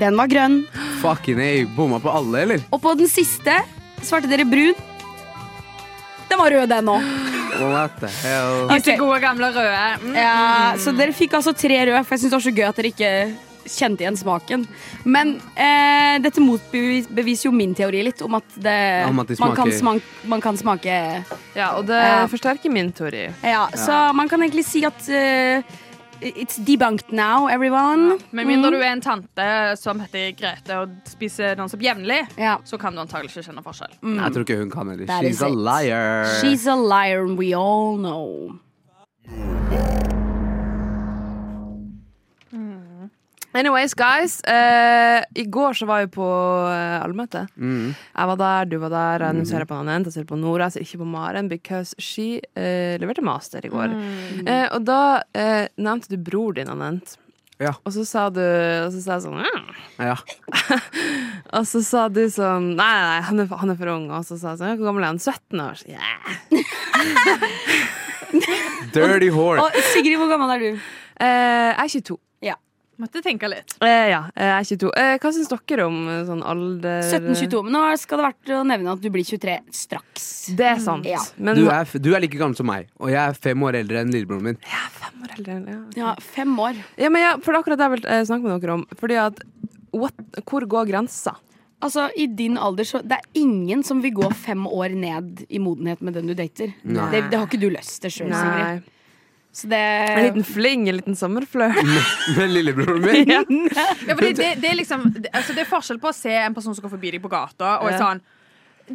B: Den var grønn.
C: Fucking A, bomma på alle, eller?
B: Og på den siste svarte dere brun. Den var rød, den òg.
C: What the hell?
E: Disse gode, gamle røde. Mm.
B: Ja, så dere fikk altså tre røde, for jeg syns det var så gøy at dere ikke kjente igjen smaken. Men eh, dette motbeviser jo min teori litt, om at det,
C: Om at de
B: man, kan
C: smaker-
B: smak, man kan smake
D: Ja, og det
B: Ja.
D: forsterker min teori.
B: Ja, så man kan egentlig si at eh, It's debunked now, everyone.
E: Med mindre du er en tante som heter Grete og spiser nonstop jevnlig,
B: Ja.
E: så kan du antagelig ikke kjenne forskjell.
C: Nei, Jeg tror ikke hun kan heller.
B: Mm. That
C: She's
B: is
C: a
B: it.
C: liar.
B: She's a liar, and we all know.
D: Anyways, guys. eh, I går så var jeg på uh, allmøte.
C: Mm.
D: Jeg var der, du var der. Jeg nå ser jeg på Nanent, jeg ser på Nora, jeg ser ikke på Maren, because she eh, leverte master i går.
C: Mm.
D: Eh, og da eh, nevnte du bror din, Anent.
C: Ja.
D: Og så sa du og så sa jeg sånn «Mm».
C: Ja.
D: Og så sa du sånn Nei, nei, nei, han er, for- han er for ung. Og så sa jeg sånn «Ja, Hvor gammel er han? 17 år? Så, «Yeah».
C: Dirty whore.
B: Og Sigrid, hvor gammel er du?
D: Eh, jeg er 22.
E: Måtte tenke litt.
D: Eh, ja, eh, jeg er 22. Eh, hva syns dere om eh, sånn alder
B: 17-22. Men nå skal det vært å nevne at du blir 23 straks.
D: Det er sant.
B: Ja.
D: Men
C: Du er, f- du er like gammel som meg, og jeg er fem år eldre enn lillebroren min.
D: foreldre, ja.
B: Ja, fem år.
D: Ja, men ja, for det er akkurat det jeg vil eh, snakke med dere om. Fordi at what, Hvor går grensa?
B: Altså, I din alder så Det er ingen som vil gå fem år ned i modenhet med den du dater.
D: Nei.
B: Det, det har ikke du lyst til sjøl, Sigrid. Så det
D: En liten fling, en liten sommerflørt.
C: Men lillebroren min?
D: Ja.
E: Ja, fordi det, det, er liksom, det, altså det er forskjell på å se en person som går forbi deg på gata, og er
D: Ja.
E: sånn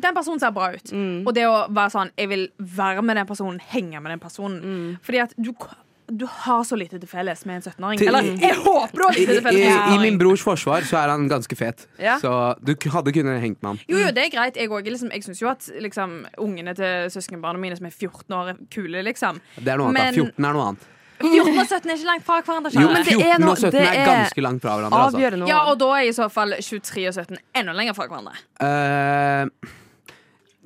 E: den personen ser bra ut.
C: Mm.
E: Og det å være sånn Jeg vil være med den personen, henge med den personen.
C: Mm.
E: Fordi at du, k- du har så lite til felles med en 17-åring.
C: Til-
E: Eller jeg håper du har
C: I,
E: lite til
C: i,
E: felles med en
C: I
E: 17-åring.
C: min brors forsvar så er han ganske fet,
D: Ja.
C: så du k- hadde kunnet hengt med ham.
E: Jo, jo, det er greit. Jeg, også er liksom, jeg syns jo at liksom, ungene til søskenbarna mine som er 14 år, er kule, liksom.
C: Det er noe annet. da.
E: Men-
C: 14 er noe annet.
E: 14 og 17 er ikke langt fra hverandre.
C: Mm. Jo,
E: kjære.
D: men det er
C: 14
D: noe-
C: og 17
D: det
C: er
D: er
C: ganske langt fra hverandre. Altså.
D: Avgjørende
E: Ja,
D: år.
E: og da er i så fall 23 og 17 enda lenger fra hverandre.
C: Eh,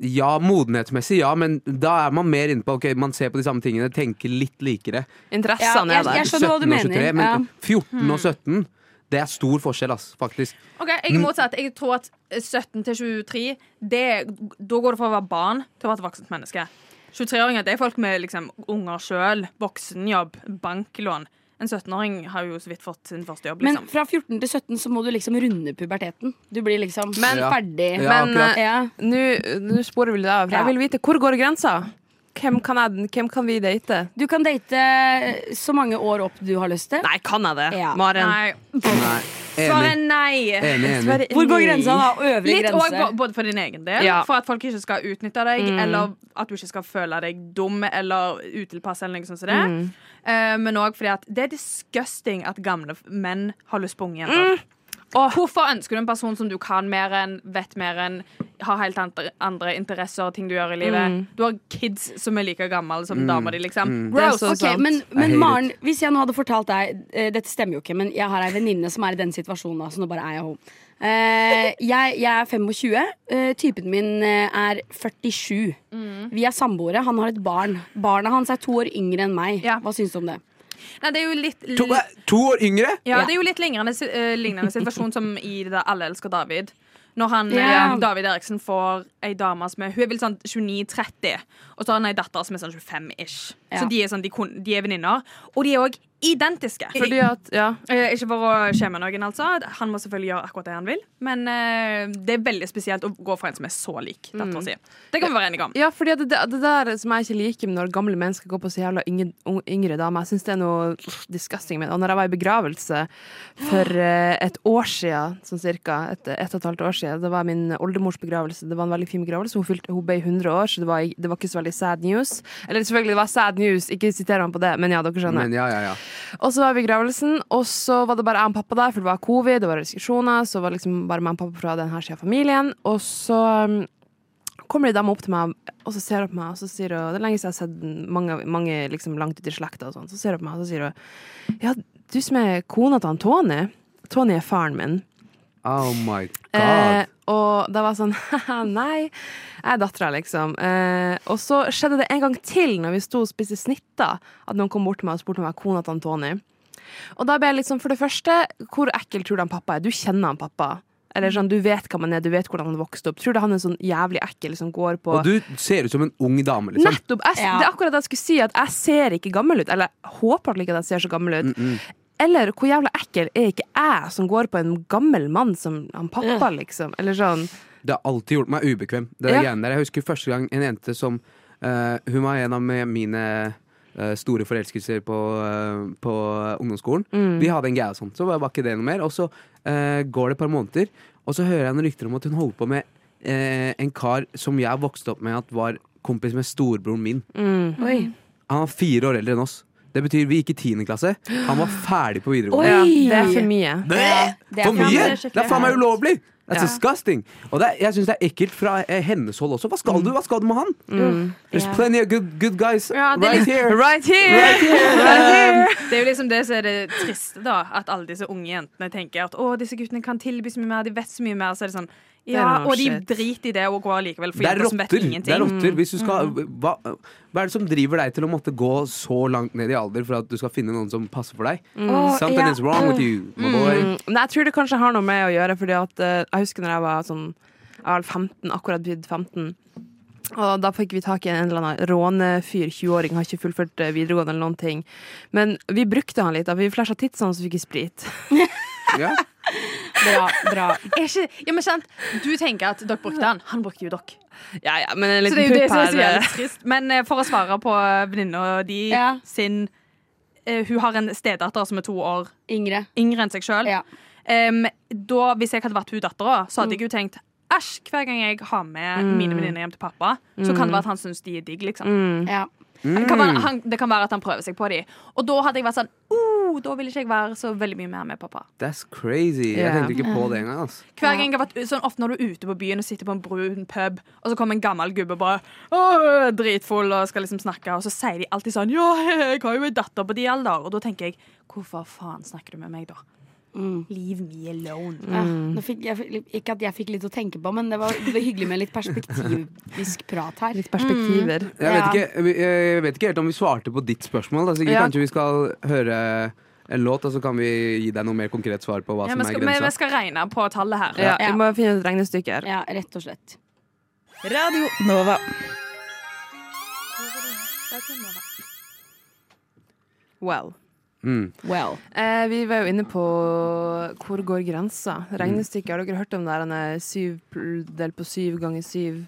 C: ja, modenhetsmessig, ja, men da er man mer inne på Ok, man ser på de samme tingene, tenker litt likere.
D: Interessene
B: Ja,
D: er der.
B: Jeg skjønner hva du
C: 17 og
B: mener,
C: 23, men
B: ja.
C: 14 og 17, det er stor forskjell, ass, faktisk.
E: Ok, Jeg er motsatt. Jeg tror at 17 til 23, det, da går det fra å være barn til å være et voksent menneske. 23-åringer det er folk med liksom, unger sjøl, voksenjobb, banklån. En 17-åring har jo så vidt fått sin første jobb.
B: Men
E: liksom.
B: fra 14 til 17 så må du liksom runde puberteten. Du blir liksom
D: Men-
C: Ja.
B: ferdig.
C: Ja,
D: Men
C: akkurat.
D: eh,
B: ja.
D: nå nå sporer vi litt av. For
B: Ja.
D: jeg vil vite hvor går grensa? Hvem kan, jeg, hvem kan vi date?
B: Du kan date så mange år opp du har lyst til.
D: Nei, kan jeg det?
B: Ja.
D: Maren?
E: Nei.
C: Nei,
E: Svaret
C: enig.
E: er nei.
C: Enig, enig.
D: Dessverre,
B: Hvor går
D: nei.
B: grensa, da? Øvre
E: Litt òg
B: grense.
E: både for din egen del,
D: Ja.
E: for at folk ikke skal utnytte deg, eller at du ikke skal føle deg dum eller utilpass. Eller noe sånt som det. Eh, men òg fordi at det er disgusting at gamle f- menn har lyst på unge jenter. sånn. Hvorfor ønsker du en person som du kan mer enn, vet mer enn, har helt andre, andre interesser og ting du gjør i livet? Du har kids som er like gamle som dama di, liksom.
B: Mm.
D: Det er
E: Gross.
D: så
B: Ok,
D: sant.
B: men,
C: I hate
B: men
C: it.
B: Maren, hvis jeg nå hadde fortalt deg eh, Dette stemmer jo ikke, men jeg har ei venninne som er i den situasjonen. da, Så nå bare er jeg home. Eh, jeg, jeg er 25. eh, typen min eh, er 47. Vi er samboere. Han har et barn. Barna hans er to år yngre enn meg.
E: Ja.
B: Hva syns du om det?
E: Nei, det er jo litt
C: To, eh, to år yngre?
E: Ja, det er jo litt lignende, si- eh, lignende situasjon som i det der Alle elsker David. Når han, eh,
B: Ja.
E: David Eriksen får ei dame som er Hun er vel sånn 29-30, og så har han ei datter som er sånn 25-ish.
B: Ja.
E: Så de er, sånn, de, kun- de er venninner. Og de er òg identiske.
D: Fordi at, ja,
E: Eh, ikke for å skjemme noen, altså. Han må selvfølgelig gjøre akkurat det han vil. Men eh, det er veldig spesielt å gå for en som er så lik
B: Mm.
E: dattera si. Det kan vi være enige om.
D: ja fordi at det, det der som jeg ikke liker med når gamle mennesker går på så jævla yngre, ung- yngre damer, jeg syns det er noe disgusting med det. Og når jeg var i begravelse for eh, et år siden, sånn cirka, et, et og et halvt år siden, det var min oldemors begravelse, det var en veldig fin begravelse, hun, fylte, hun ble 100 år, så det var, det var ikke så veldig sad news. Eller selvfølgelig, det var sad news, ikke siter han på det, men ja, dere skjønner.
C: Men ja, ja, ja.
D: Og så var begravelsen, og så var det bare jeg og pappa der, for det var covid, det var restriksjoner, så var det liksom bare meg og pappa fra denne siden av familien. Og så um, kommer det en dame opp til meg, og så ser hun på meg, og så sier hun Det er lenge siden jeg har sett den, mange, mange liksom langt ute i slekta og sånn. Så ser hun på meg, og så sier hun Ja, du som er kona til han Tony. Tony er faren min.
C: Oh my
D: Eh,
C: god.
D: og da var jeg sånn «Haha, Nei, jeg er dattera, liksom. Eh, og så skjedde det en gang til når vi sto og spiste snitter, at noen kom bort til meg og spurte om jeg var kona til han Tony. Og da ble jeg litt sånn, for det første, hvor ekkel tror du han pappa er? Du kjenner han pappa. Eller sånn, Du vet hva man er, du vet hvordan han vokste opp. Tror du han er sånn jævlig ekkel som går på
C: Og du ser ut som en ung dame, liksom.
D: Nettopp! Jeg,
B: Ja.
D: Det er akkurat det jeg skulle si, at jeg ser ikke gammel ut. Eller jeg håper ikke at jeg ser så gammel ut. Eller hvor jævla ekkel er ikke jeg som går på en gammel mann som han pappa, liksom? Eller sånn.
C: Det har alltid gjort meg ubekvem. Det
D: Ja.
C: greiene der. Jeg husker første gang en jente som eh, Hun var en av me- mine eh, store forelskelser på, eh, på ungdomsskolen. De hadde en greie og sånn, så var var ikke det noe mer. Og så eh, går det et par måneder, og så hører jeg noen rykter om at hun holder på med eh, en kar som jeg vokste opp med at var kompis med storebroren min. Han var fire år eldre enn oss. Det betyr vi gikk i tiende klasse. Han var ferdig på videregående.
D: Ja,
B: Oi!
D: det er for mye.
B: det er
C: For
B: faen-
C: mye!
B: det er skikkelig
C: Det er faen meg
B: fælt.
C: ulovlig! Det er disgusting. Og det er, jeg syns det er ekkelt fra eh, hennes hold også. Hva skal du Hva skal du med han? There's plenty of good, good guys
E: Ja, det er
C: right here.
D: Right here!
E: Ehm, Det er jo liksom det som er det triste, da. At alle disse unge jentene tenker at å, disse guttene kan tilby så mye mer, de vet så mye mer. Så er det sånn ja,
D: noe
E: og de
D: shit.
E: driter i det og går likevel for
C: Det er
E: jenter som vet
C: rotter. Det er
E: ingenting.
C: rotter. Hvis du skal, hva, hva er det som driver deg til å måtte gå så langt ned i alder for at du skal finne noen som passer for deg?
B: Åh,
C: Something
B: ja.
C: is wrong with you, my boy.
D: Mm, Men jeg tror det kanskje har noe med å gjøre, fordi at eh, jeg husker når jeg var sånn jeg var 15, akkurat blitt 15. Og da fikk vi tak i en eller annen rånefyr, 20-åring, har ikke fullført eh, videregående eller noen ting. Men vi brukte han litt, da. Vi flasha tidsene, så fikk vi sprit.
C: Ja.
B: Bra, bra.
E: Er ikke, ja, men sant? Du tenker at dere brukte han, han brukte jo dere.
D: Ja, ja, men en
E: Så
D: liten
E: det er jo det
D: pupp
E: som er så
D: her. eh,
E: jævlig trist. Men eh, for å svare på venninna di
B: Ja.
E: sin eh, Hun har en stedatter som er to år
B: Ingrid.
E: yngre enn seg sjøl.
B: Ja.
E: da, hvis jeg hadde vært hun dattera, så hadde jeg jo tenkt Æsj, hver gang jeg har med mine venninner hjem til pappa, så kan det være at han syns de er digg, liksom.
B: Ja.
E: Han kan være, han, det kan være at han prøver seg på dem. Og da hadde jeg vært sånn oh, Da vil ikke jeg være så veldig mye mer med pappa.
C: That's crazy. Jeg
D: Ja.
C: tenkte ikke på det engang. Altså.
E: Hver gang jeg har vært u- sånn, Ofte når du er ute på byen og sitter på en brun pub, og så kommer en gammel gubbe bare «Åh, dritfull og skal liksom snakke, og så sier de alltid sånn Ja, jeg har jo en datter på de alder. Og da tenker jeg Hvorfor faen snakker du med meg, da? Leave me alone.
B: Ja. Ah, Nå fikk, jeg, fikk- ikke at jeg fikk litt å tenke på, men det var, det var hyggelig med litt perspektivisk prat her.
D: Litt perspektiver.
C: Jeg vet,
B: Ja.
C: ikke, vi- jeg vet ikke helt om vi svarte på ditt spørsmål. Da. Sigrid,
D: Ja.
C: Kanskje vi skal høre en låt, og så kan vi gi deg noe mer konkret svar på hva
E: Ja,
C: som
E: vi,
C: er
E: skal, vi,
C: grensa.
E: vi skal regne på tallet her.
D: Ja,
B: Ja.
D: Vi må finne ut et regnestykke her.
B: Ja, rett og slett.
H: Radio Nova.
D: Well.
C: Mm.
B: Well.
D: Eh, vi var jo inne på hvor går grensa. Regnestykket, har dere hørt om det her? denne Syv pl- delt på syv ganger syv.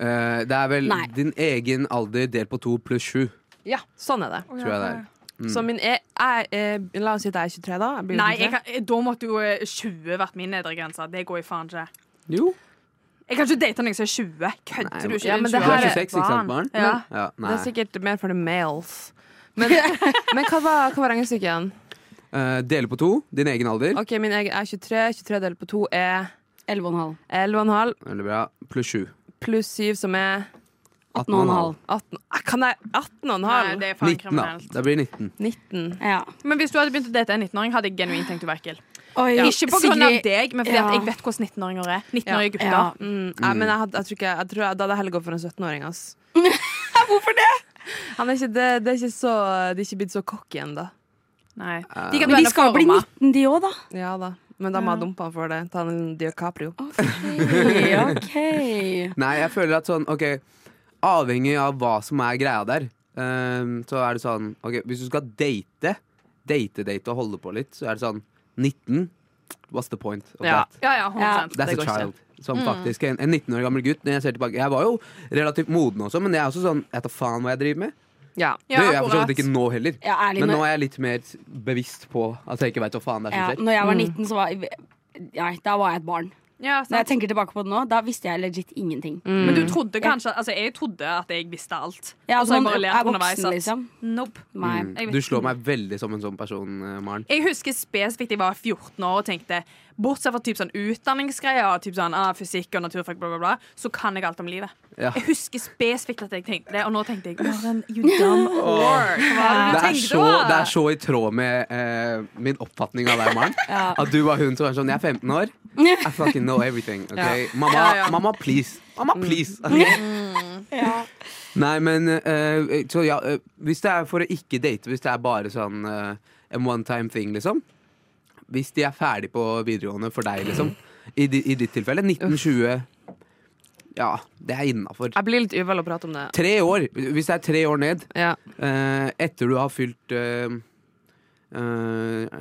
C: Eh, det er vel
B: Nei.
C: din egen alder delt på to pluss sju,
D: Ja, sånn er det.
C: tror jeg det er.
D: Så min e jeg, eh, La oss si at jeg er 23, da. Jeg blir
E: Nei,
D: 23.
E: jeg kan, da måtte jo eh, 20 vært min nedre grense. Det går jo faen ikke.
C: Jo.
E: Jeg kan ikke date noen som er 20. Kødder du ikke?
D: Ja, men
E: En
D: det
C: Du
D: her
C: er
E: 20
D: er-
C: 26, ikke sant, barn?
E: Ja.
C: Ja, nei.
D: Det er sikkert mer for the males. Men, men hva var, hva var regnestykket igjen?
C: Eh, dele på to, din egen alder.
D: Ok, min egen er 23. 23 delt på 2 er
B: 11,5.
D: 11,5
C: Veldig bra. Pluss sju.
D: pluss 7, som er
B: 18,5.
D: 18. Eh, Kan jeg 18,5?
E: Nei, det er faen
C: 19, da.
E: kriminelt.
C: Det blir 19.
D: 19.
B: Ja.
E: Men hvis du hadde begynt å date en 19-åring, hadde jeg genuint tenkt å være ekkel.
B: Oi,
E: Ikke på grunn av
B: Sigrid-
E: deg, men fordi at
B: Ja.
E: jeg vet hvordan 19-åringer er. 19-årige gutter.
B: Ja.
D: Mm, nei, men jeg, hadde- jeg tror ikke jeg tror jeg, Da hadde jeg heller gått for en 17-åring, ass. Hvorfor det? Han er ikke, det, det er ikke så, de er ikke blitt så cocky ennå.
E: Nei. De kan
B: Men de
E: duelle
B: skal jo
E: for
B: bli
E: Roma.
B: 19, de òg, da.
D: Ja da. Men da må jeg dumpe han for det. Ta en DiCaprio.
B: Hey, ok.
C: Nei, jeg føler at sånn, ok Avhengig av hva som er greia der ehm, Så er det sånn, ok Hvis du skal date Date, date og holde på litt Så er det sånn, 19 What's the point of
D: Ja.
C: that?
E: Ja, ja, 100
C: That's a
D: det går ikke.
C: child Som faktisk en, en 19 år gammel gutt Når jeg ser tilbake Jeg var jo relativt moden også Men jeg er også sånn, jeg tar faen hva jeg driver med
D: Ja.
C: Det
E: Ja,
C: gjør jeg for så vidt
E: akkurat.
C: ikke nå heller
B: Ja, ærlig,
C: Men
B: når-
C: nå er jeg litt mer bevisst på At jeg ikke vet hva faen det er
B: Ja,
C: som skjer
B: når jeg
E: Mm.
B: var 19, så var Nei, da var jeg et barn.
E: Ja,
B: Når jeg
E: sant.
B: tenker tilbake på det nå, da visste jeg legit ingenting.
E: Men
C: Mm.
E: du trodde kanskje Altså, jeg trodde at jeg visste alt.
B: Ja,
E: Og så har
B: sånn,
E: jeg bare
B: er
E: lært
B: voksen,
E: underveis at
B: liksom.
E: Nope.
B: Nei.
E: Jeg vet
C: Du
E: ikke.
C: slår meg veldig som en sånn person, eh, Maren
E: Jeg husker spesifikt jeg var 14 år og tenkte Bortsett fra typ sånn utdanningsgreier og typ sånn, ah, fysikk og naturfag, bla, bla, bla, så kan jeg alt om livet.
C: Ja.
E: Jeg husker spesifikt at jeg tenkte det, og nå tenkte jeg Maren, you dumb whore. Hva var
C: Det
E: det
C: er,
E: du
C: så,
E: tenkte
C: det
E: da?
C: er så i tråd med eh, min oppfatning av deg, Maren. At du var hun som var sånn Jeg er 15 år. I fucking know everything. ok? Mamma,
E: Ja, ja. Mm.
C: mamma, please. Mamma, please.
D: Mm.
C: Nei, men eh, Så ja, eh, hvis det er for å ikke date, hvis det er bare sånn eh, en one time thing, liksom. Hvis de er ferdig på videregående for deg, liksom. I, di, i ditt tilfelle. 1920. Ja, det er innafor.
D: Jeg blir litt uvel å prate om det.
C: Tre år! Hvis det er tre år ned.
D: Ja.
C: Eh, etter du har fylt eh, eh,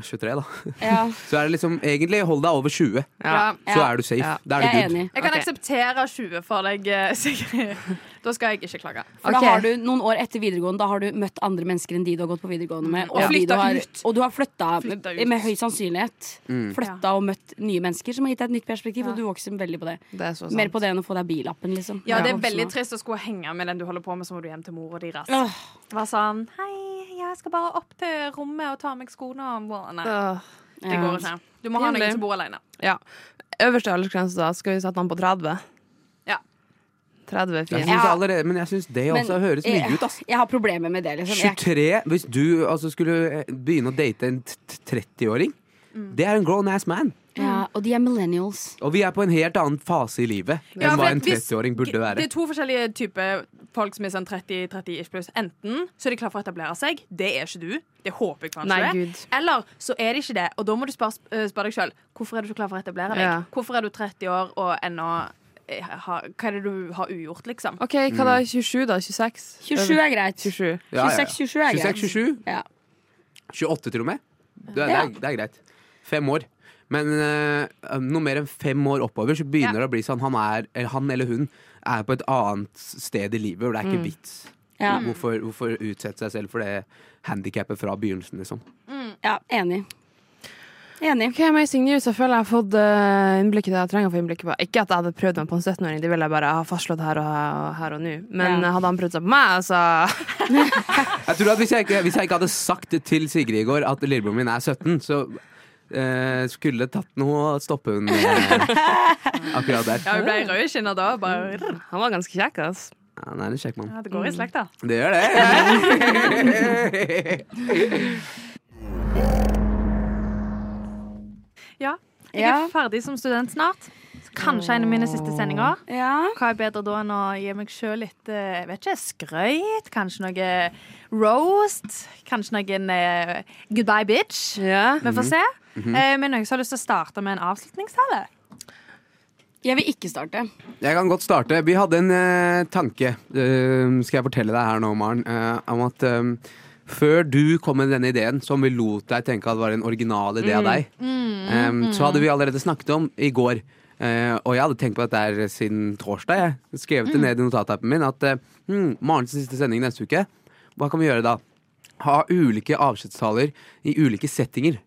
C: 23, da.
B: Ja,
C: Så er det liksom egentlig hold deg over 20,
D: Ja.
C: så
B: Ja.
C: er du safe.
D: Ja.
C: Da
B: jeg
C: er
B: er
C: du good.
B: enig.
E: Jeg kan
D: Ok.
E: akseptere 20 for deg, eh, Sigrid. Da skal jeg ikke klage.
B: For
D: Ok.
B: da har du noen år etter videregående Da har du møtt andre mennesker enn de du har gått på videregående med. Og,
E: Ja.
B: de du
E: Flytta
B: har,
E: ut.
B: og du har flytta med,
E: Flytta ut.
B: med høy sannsynlighet.
C: Mm.
B: Flytta og møtt nye mennesker som har gitt deg et nytt perspektiv, og du vokser veldig på det.
D: Det er så sant.
B: Mer på det enn å få deg billappen, liksom.
E: Ja, det er
B: Voksen
E: veldig
B: også.
E: trist å skulle henge med den du holder på med, så må du hjem til mora di raskt.
B: Åh,
E: Var sånn Hei, jeg skal bare opp til rommet og ta av meg skoene. og-» Nei,
D: Øh,
E: det går ikke. Du må ha noen
D: Pinlig.
E: som bor alene.
D: ja. Øverste aldersgrense, da. Skal vi sette den på 30?
E: Ja.
D: 30 er
C: Jeg
D: fint.
C: synes
B: Ja.
C: allerede, men jeg syns Altså, det
B: Men
C: også høres mye
B: jeg-
C: ut, ass.
B: Jeg har problemer med det, liksom. Jeg,
C: 23, hvis du altså, skulle eh, begynne å date en t- t- 30-åring,
B: Mm.
C: det er en grown ass man.
B: ja, og de er millennials.
C: Og vi er på en helt annen fase i livet enn
E: Ja, for
C: hva en
E: hvis-
C: 30-åring burde
E: Det
C: være.
E: er to forskjellige typer folk som er sånn 30-30 ish pluss. Enten så er de klare for å etablere seg. Det er ikke du. Det håper jeg kanskje
D: Nei,
E: du er.
D: Gud.
E: Eller så er de ikke det, og da må du spørre spør deg sjøl hvorfor er du ikke klar for å etablere deg.
D: Ja.
E: Hvorfor er du 30 år og ennå eh, ha, Hva er det du har ugjort, liksom?
D: OK, hva da? 27, da? 26?
B: 27 er greit.
D: 27.
C: Ja, ja, ja.
B: 26-27 er greit.
C: 26, 27,
B: Ja.
C: 28 til og med. Det er, det
B: Ja.
C: er, det er greit. Fem år. Men eh, noe mer enn fem år oppover så begynner det å bli sånn han, er, eller han eller hun er på et annet sted i livet, og det er ikke vits.
B: Mm. Ja.
C: Hvorfor, hvorfor utsette seg selv for det handikappet fra begynnelsen, liksom?
B: ja, enig. Enig.
D: Ok, Amazing News. Jeg føler jeg har fått eh, innblikket jeg trenger å få innblikket på. Ikke at jeg hadde prøvd meg på en 17-åring, det ville jeg bare ha fastslått her og, her og nå. Men
B: Ja.
D: hadde han prøvd seg på meg, altså
C: Jeg tror at hvis jeg ikke, hvis jeg ikke hadde sagt til Sigrid i går at lillebroren min er 17, så eh, skulle det tatt noe å stoppe hun eh, akkurat der.
E: Ja, hun ble rød i kinna da. Bare, rrr.
D: Han var ganske kjekk, ass.
C: Ja, Han er en kjekk mann.
E: ja, det går i slekt, da.
C: Det gjør det.
E: Ja. Jeg
B: Ja.
E: er ferdig som student snart. Så Kanskje en av mine siste sendinger.
B: Ja.
E: Hva er bedre da enn å gi meg sjøl litt eh, jeg vet ikke, skrøyt? Kanskje noe eh, roast? Kanskje noen eh, goodbye bitch?
D: Ja.
E: Vi får
C: Mhm.
E: se. Eh, Men noen som har lyst til å starte med en avslutningstale?
B: Jeg vil ikke starte.
C: Jeg kan godt starte. Vi hadde en eh, tanke, eh, skal jeg fortelle deg her nå, Maren, eh, om at eh, før du kom med denne ideen, som vi lot deg tenke at var en original idé av deg, eh, så hadde vi allerede snakket om i går, eh, og jeg hadde tenkt på dette her siden torsdag, jeg skrevet det ned i notatappen min, at eh, hmm, Marens siste sending neste uke, hva kan vi gjøre da? Ha ulike avskjedstaler i ulike settinger.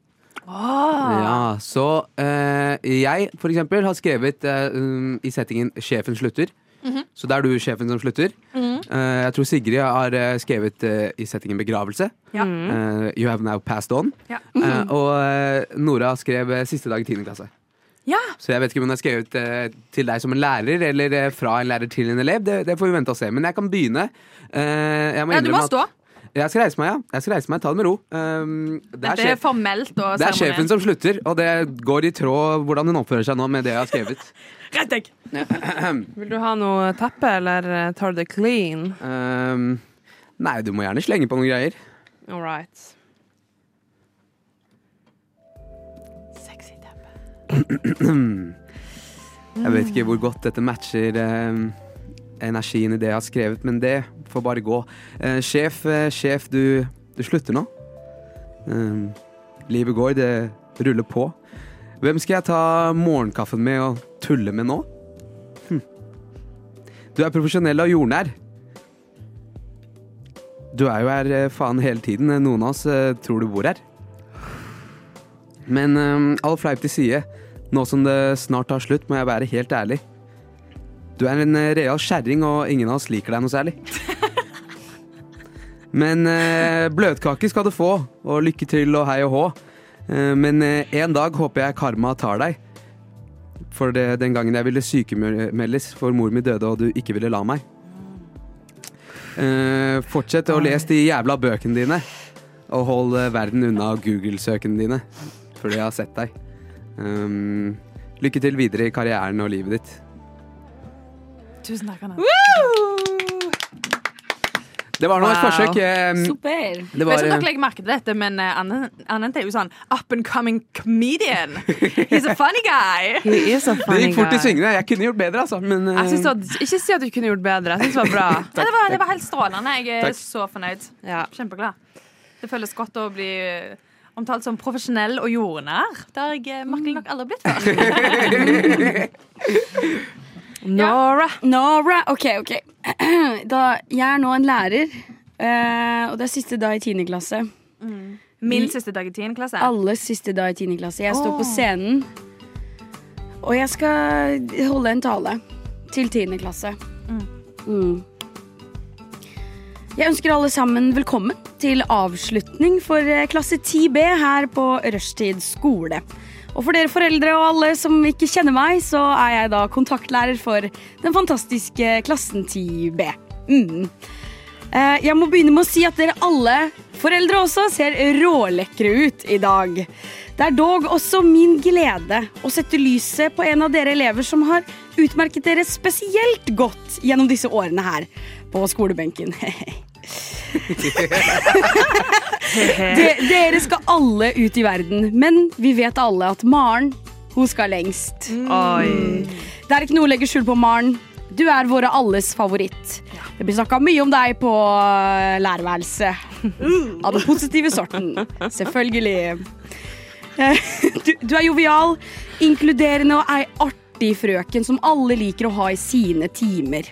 E: Ah.
C: Ja, så eh, jeg for eksempel har skrevet eh, um, i settingen 'Sjefen slutter'.
E: Mhm.
C: Så da er du sjefen som slutter. Eh, jeg tror Sigrid har eh, skrevet eh, i settingen 'Begravelse'.
E: Ja.
C: Eh, 'You have now passed on'.
E: Ja.
C: Eh, og eh, Nora skrev eh, 'Siste dag i 10. klasse'.
E: Ja.
C: Så jeg vet ikke om hun har skrevet eh, til deg som en lærer, eller eh, fra en lærer til en elev. Det, det får vi vente og se. Men jeg kan begynne. Eh, jeg må
E: Ja, du må
C: innrømme at-
E: stå.
C: Jeg skal reise meg, ja. Jeg skal reise meg, Ta det med ro. Um, det er
E: Dette er
C: sjef-
E: formelt og
C: det er sjefen som slutter, og det går i tråd hvordan hun oppfører seg nå med det jeg har skrevet.
E: Rett deg!
D: Vil du ha noe teppe, eller eh, tar du det clean?
C: Ehm, nei, du må gjerne slenge på noen greier.
D: All right.
C: Jeg vet ikke hvor godt dette matcher eh, energien i det jeg har skrevet, men det får bare gå. Eh, sjef, eh, sjef, du, du slutter nå. Eh, livet går, det ruller på. Hvem skal jeg ta morgenkaffen med og tulle med nå? Hm. Du er profesjonell og jordnær. Du er jo her eh, faen hele tiden. Noen av oss eh, tror du bor her. Men eh, all fleip til side. Nå som det snart tar slutt, må jeg være helt ærlig. Du er en eh, real kjerring, og ingen av oss liker deg noe særlig. Men eh, bløtkake skal du få, og lykke til og hei og hå. Eh, men eh, en dag håper jeg karma tar deg. For det, den gangen jeg ville sykemeldes for mor mi døde, og du ikke ville la meg. Eh, fortsett å lese de jævla bøkene dine, og hold eh, verden unna Google-søkene dine. Fordi jeg har sett deg. Um, lykke til videre i karrieren og livet ditt.
E: Tusen takk, Anna.
C: Det var nå et
D: Wow.
C: forsøk. eh,
B: Super.
C: Det
E: Jeg vet
C: var, eh,
E: ikke om dere legger merke til dette, men eh, Anne- Anette er jo sånn up and coming comedian. He's a funny guy.
D: He is a
C: det
D: funny
C: gikk fort i
D: guy.
C: svingene. Jeg kunne gjort bedre, altså. Men eh,
D: Jeg synes det var, ikke si at du kunne gjort bedre. Jeg synes det var bra.
E: Ja, det, var, det var helt strålende. Jeg er
C: Takk.
E: så fornøyd.
D: Ja.
E: Kjempeglad. Det føles godt å bli eh, omtalt som profesjonell og jordnær. Det har jeg eh, merkelig nok aldri blitt før.
B: Mm.
D: Nora.
B: Nora. OK, OK. Da, jeg er nå en lærer, eh, og det er siste dag i 10. klasse.
E: Min siste dag i 10. klasse.
B: Alles siste dag i 10. klasse. Jeg står på scenen, og jeg skal holde en tale til 10. klasse. Mm. Jeg ønsker alle sammen velkommen til avslutning for eh, klasse 10B her på Rushtid skole. Og for dere foreldre og alle som ikke kjenner meg, så er jeg da kontaktlærer for den fantastiske klassen 10B. Mm. Eh, Jeg må begynne med å si at dere alle, foreldre også, ser rålekre ut i dag. Det er dog også min glede å sette lyset på en av dere elever som har utmerket dere spesielt godt gjennom disse årene her på skolebenken. De, dere skal alle ut i verden, men vi vet alle at Maren, hun skal lengst.
D: Oi.
B: Det er ikke noe å legge skjul på, Maren. Du er våre alles favoritt. Det blir snakka mye om deg på eh, lærerværelset. Av den positive sorten. Selvfølgelig. Eh, Du, du er jovial, inkluderende og ei artig frøken som alle liker å ha i sine timer.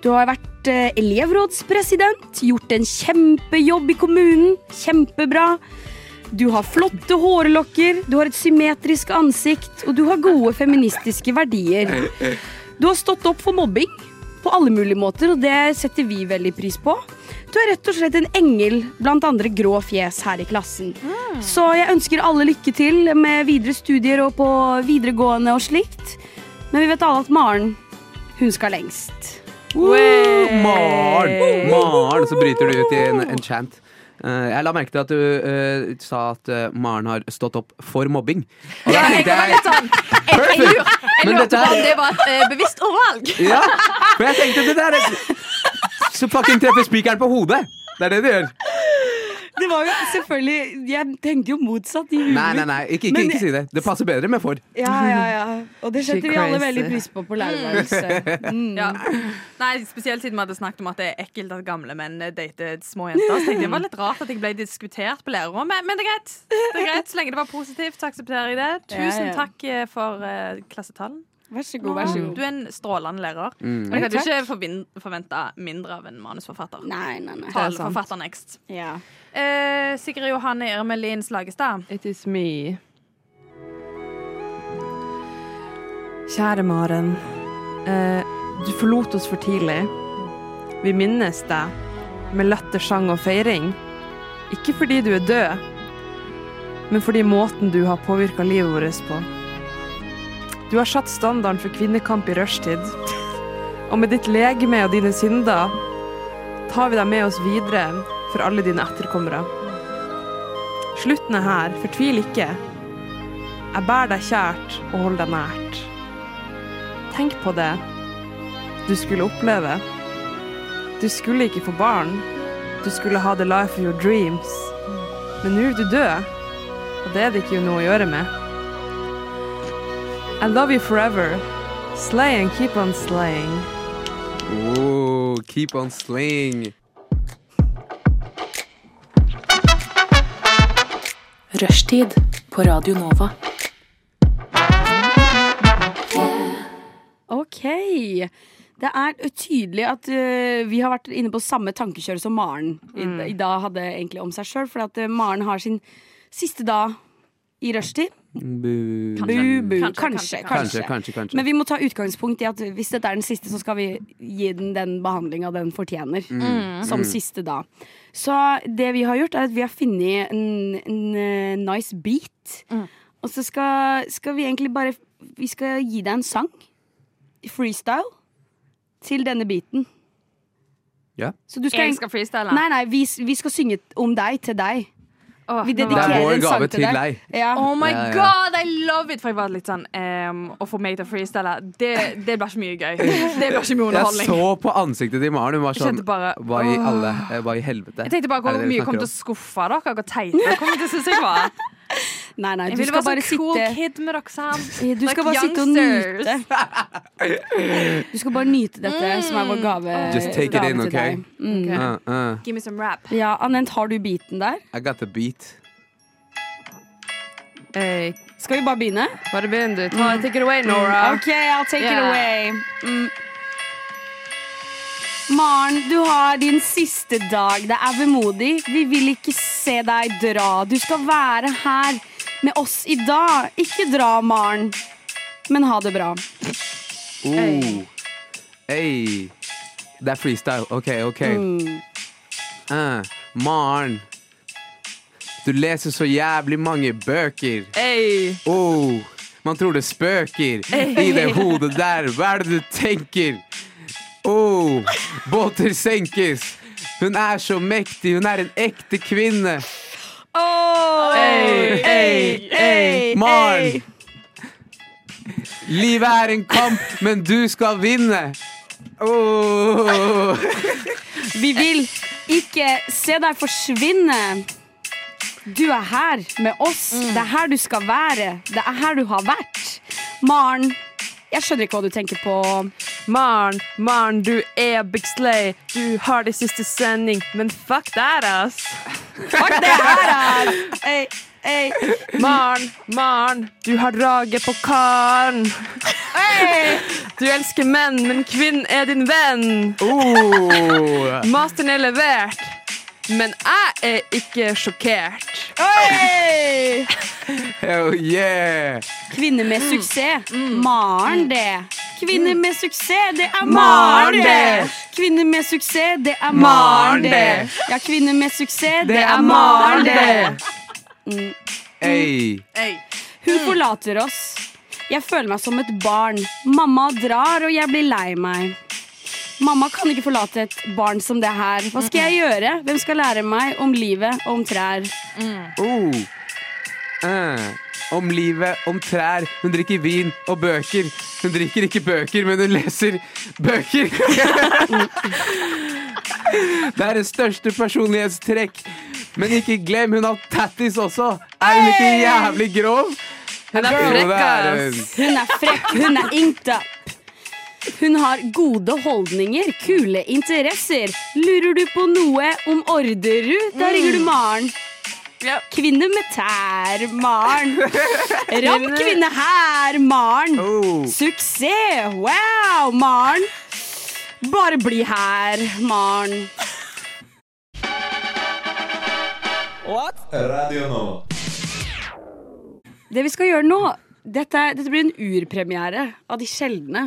B: Du har vært eh, elevrådspresident, gjort en kjempejobb i kommunen. Kjempebra. Du har flotte hårlokker, du har et symmetrisk ansikt, og du har gode feministiske verdier. Du har stått opp for mobbing på alle mulige måter, og det setter vi veldig pris på. Du er rett og slett en engel blant andre grå fjes her i klassen. Så jeg ønsker alle lykke til med videre studier og på videregående og slikt. Men vi vet alle at Maren, hun skal lengst.
C: Woo! Maren! Maren! Så bryter du ut i en, en chant. Eh, jeg la merke til at du eh, sa at eh, Maren har stått opp for mobbing. Og da tenkte jeg,
E: sånn- Jeg
C: perfect!
E: lurer- jeg
C: Men
E: lurte
C: dette
E: på om
C: er-
E: det var et eh, bevisst ordvalg.
C: Ja, for jeg tenkte det der er- Så fucking treffer spikeren på hodet! Det er det du gjør.
B: Det var jo selvfølgelig Jeg tenkte jo motsatt i
C: Nei, nei, nei, ikke, ikke,
B: Men-
C: ikke si det. Det passer bedre med for.
B: Ja, ja, ja. Og det setter vi alle
D: crazy.
B: veldig pris på på lærerværelset. Mm.
E: Ja. Nei, Spesielt siden vi hadde snakket om at det er ekkelt at gamle menn eh, dater små jenter. Så tenkte jeg Det var litt rart at jeg ble diskutert på lærerrommet, men det er greit. Det er greit. Så lenge det var positivt, så aksepterer jeg det. Tusen
B: Ja, ja.
E: takk eh, for eh, klassetalen.
B: Vær så god, vær så god. Mm.
E: Du er en strålende lærer. Og jeg hadde ikke forventa mindre av en manusforfatter.
B: Nei, nei, nei.
E: Taleforfatter next.
B: Ja.
E: Eh, Sigrid Johanne Irmelin Slagestad.
D: It is me. Kjære Maren. Eh, du forlot oss for tidlig. Vi minnes deg med latter, sang og feiring. Ikke fordi du er død, men fordi måten du har påvirka livet vårt på. Du har satt standarden for kvinnekamp i rushtid. Og med ditt legeme og dine synder tar vi deg med oss videre for alle dine etterkommere. Slutten er her, fortvil ikke. Jeg bærer deg kjært og holder deg nært. Tenk på det du skulle oppleve. Du skulle ikke få barn. Du skulle ha the life of your dreams. Men nå er du død, og det er det ikke noe å gjøre med. I love you forever. Slay and keep on slaying.
C: Oh, keep on slaying.
A: Rushtid på Radio Nova.
B: Ok. Det er tydelig at eh, vi har vært inne på samme tankekjør som Maren i, i dag hadde egentlig om seg sjøl. For at eh, Maren har sin siste dag i rushtid.
C: Bu.
B: Bu, bu.
E: Kanskje,
B: Kanskje,
C: Kanskje,
E: kanskje,
B: kanskje.
C: kanskje, kanskje.
B: Men vi må ta utgangspunkt i at hvis dette er den siste, så skal vi gi den den behandlinga den fortjener.
C: Mm.
E: Mm.
B: Som siste da. Så det vi har gjort, er at vi har funnet en, en eh, nice beat.
E: Mm.
B: Og så skal, skal vi egentlig bare Vi skal gi deg en sang. Freestyle. Til denne beaten.
C: Ja.
B: Så du skal,
E: Jeg skal freestyle.
B: Nei, nei, vi, vi skal synge om deg til deg.
E: Åh,
B: Vi
E: nå var
C: Det er
B: dedikerer
C: vår
B: en sang
C: gave
B: til
C: til
B: deg.
C: deg.
B: Ja.
E: Oh my
C: Ja, ja.
E: god, I love it! For jeg var litt sånn ehm, Å få meg til å freestyle, det, det blir ikke mye gøy. Det blir ikke
C: Jeg
E: mye underholdning.
C: så på ansiktet til Maren. Hun var
E: Jeg
C: sånn
E: kjente bare,
C: Hva i alle eh, Hva i helvete?
E: Jeg tenkte bare
C: Er
E: hvor
C: det dere
E: mye jeg kom
C: snakker
E: til å
C: om?
E: skuffe dere, hvor teit dere kommer til å synes jeg var.
B: Nei, nei,
E: Jeg
B: du
E: ville
B: skal
E: være
B: bare
E: sånn cool
B: sitte
E: kid med dere sammen.
B: Du skal bare sitte og
E: youngsters.
B: nyte. Du skal bare nyte dette som er vår gave.
C: Just take it
B: gave
C: in,
B: til
C: OK?
B: deg. Mm.
C: Uh, uh.
E: Give me some rap.
B: Ja, Anent, har du biten der?
C: I got the beat.
D: Hey,
B: Skal vi bare begynne?
D: bare begynn, du. Ta, take it away, Nora.
B: OK, I'll take it
D: Yeah.
B: away. Mm. Maren, du har din siste dag. Det er vemodig. Vi vil ikke se deg dra. Du skal være her med oss i dag. Ikke dra, Maren, men ha det bra.
C: Oh. Hey. Det er freestyle. OK, OK.
E: Mm.
C: Uh, Maren. Du leser så jævlig mange bøker.
D: Hey.
C: Oh, man tror det spøker i det hodet der. Hva er det du tenker? Oh, båter senkes. Hun er så mektig. Hun er en ekte kvinne.
D: Hey. Hey. Hey.
C: Maren. Livet er en kamp, men du skal vinne. Oh.
B: Vi vil ikke se deg forsvinne. Du er her med oss. Det er her du skal være. Det er her du har vært. Maren, jeg skjønner ikke hva du tenker på.
D: Maren, Maren, du er Big Slay. Du har din siste sending, men fuck that, ass.
B: Fuck det her, her. Ey, ey,
D: Maren, Maren, du har draget på karen.
B: ey.
D: Du elsker menn, men kvinnen er din venn.
C: Oh.
D: Masteren er levert, men jeg er ikke sjokkert.
B: Ey.
C: Hell yeah.
B: Kvinner med suksess. Maren, det. Kvinner med suksess, det er Mm. Maren, det. Kvinner med suksess, det er Maren, det. Ja, kvinner med suksess, det er Maren, det.
C: Hey.
B: Hun forlater oss. Jeg føler meg som et barn. Mamma drar, og jeg blir lei meg. Mamma kan ikke forlate et barn som det her. Hva skal jeg gjøre? Hvem skal lære meg om livet og om trær?
C: Oh. Eh. Om livet, om trær. Hun drikker vin og bøker. Hun drikker ikke bøker, men hun leser bøker. Det er det største personlighetstrekk. Men ikke glem, hun har tattis også. Er hun ikke jævlig grov?
D: Hun
C: Jo,
D: er
C: det
D: frekk,
C: er hun.
D: ass.
B: Hun er frekk, hun er inked up. Hun har gode holdninger, kule interesser. Lurer du på noe om Orderud, da ringer du Maren. Kvinne med tær, Maren. Rapp kvinne her, Maren.
C: Oh.
B: Suksess! Wow, Maren! Bare bli her, Maren.
F: Radio Nova.
B: Det vi skal gjøre nå Dette, er- dette blir en urpremiere av de sjeldne.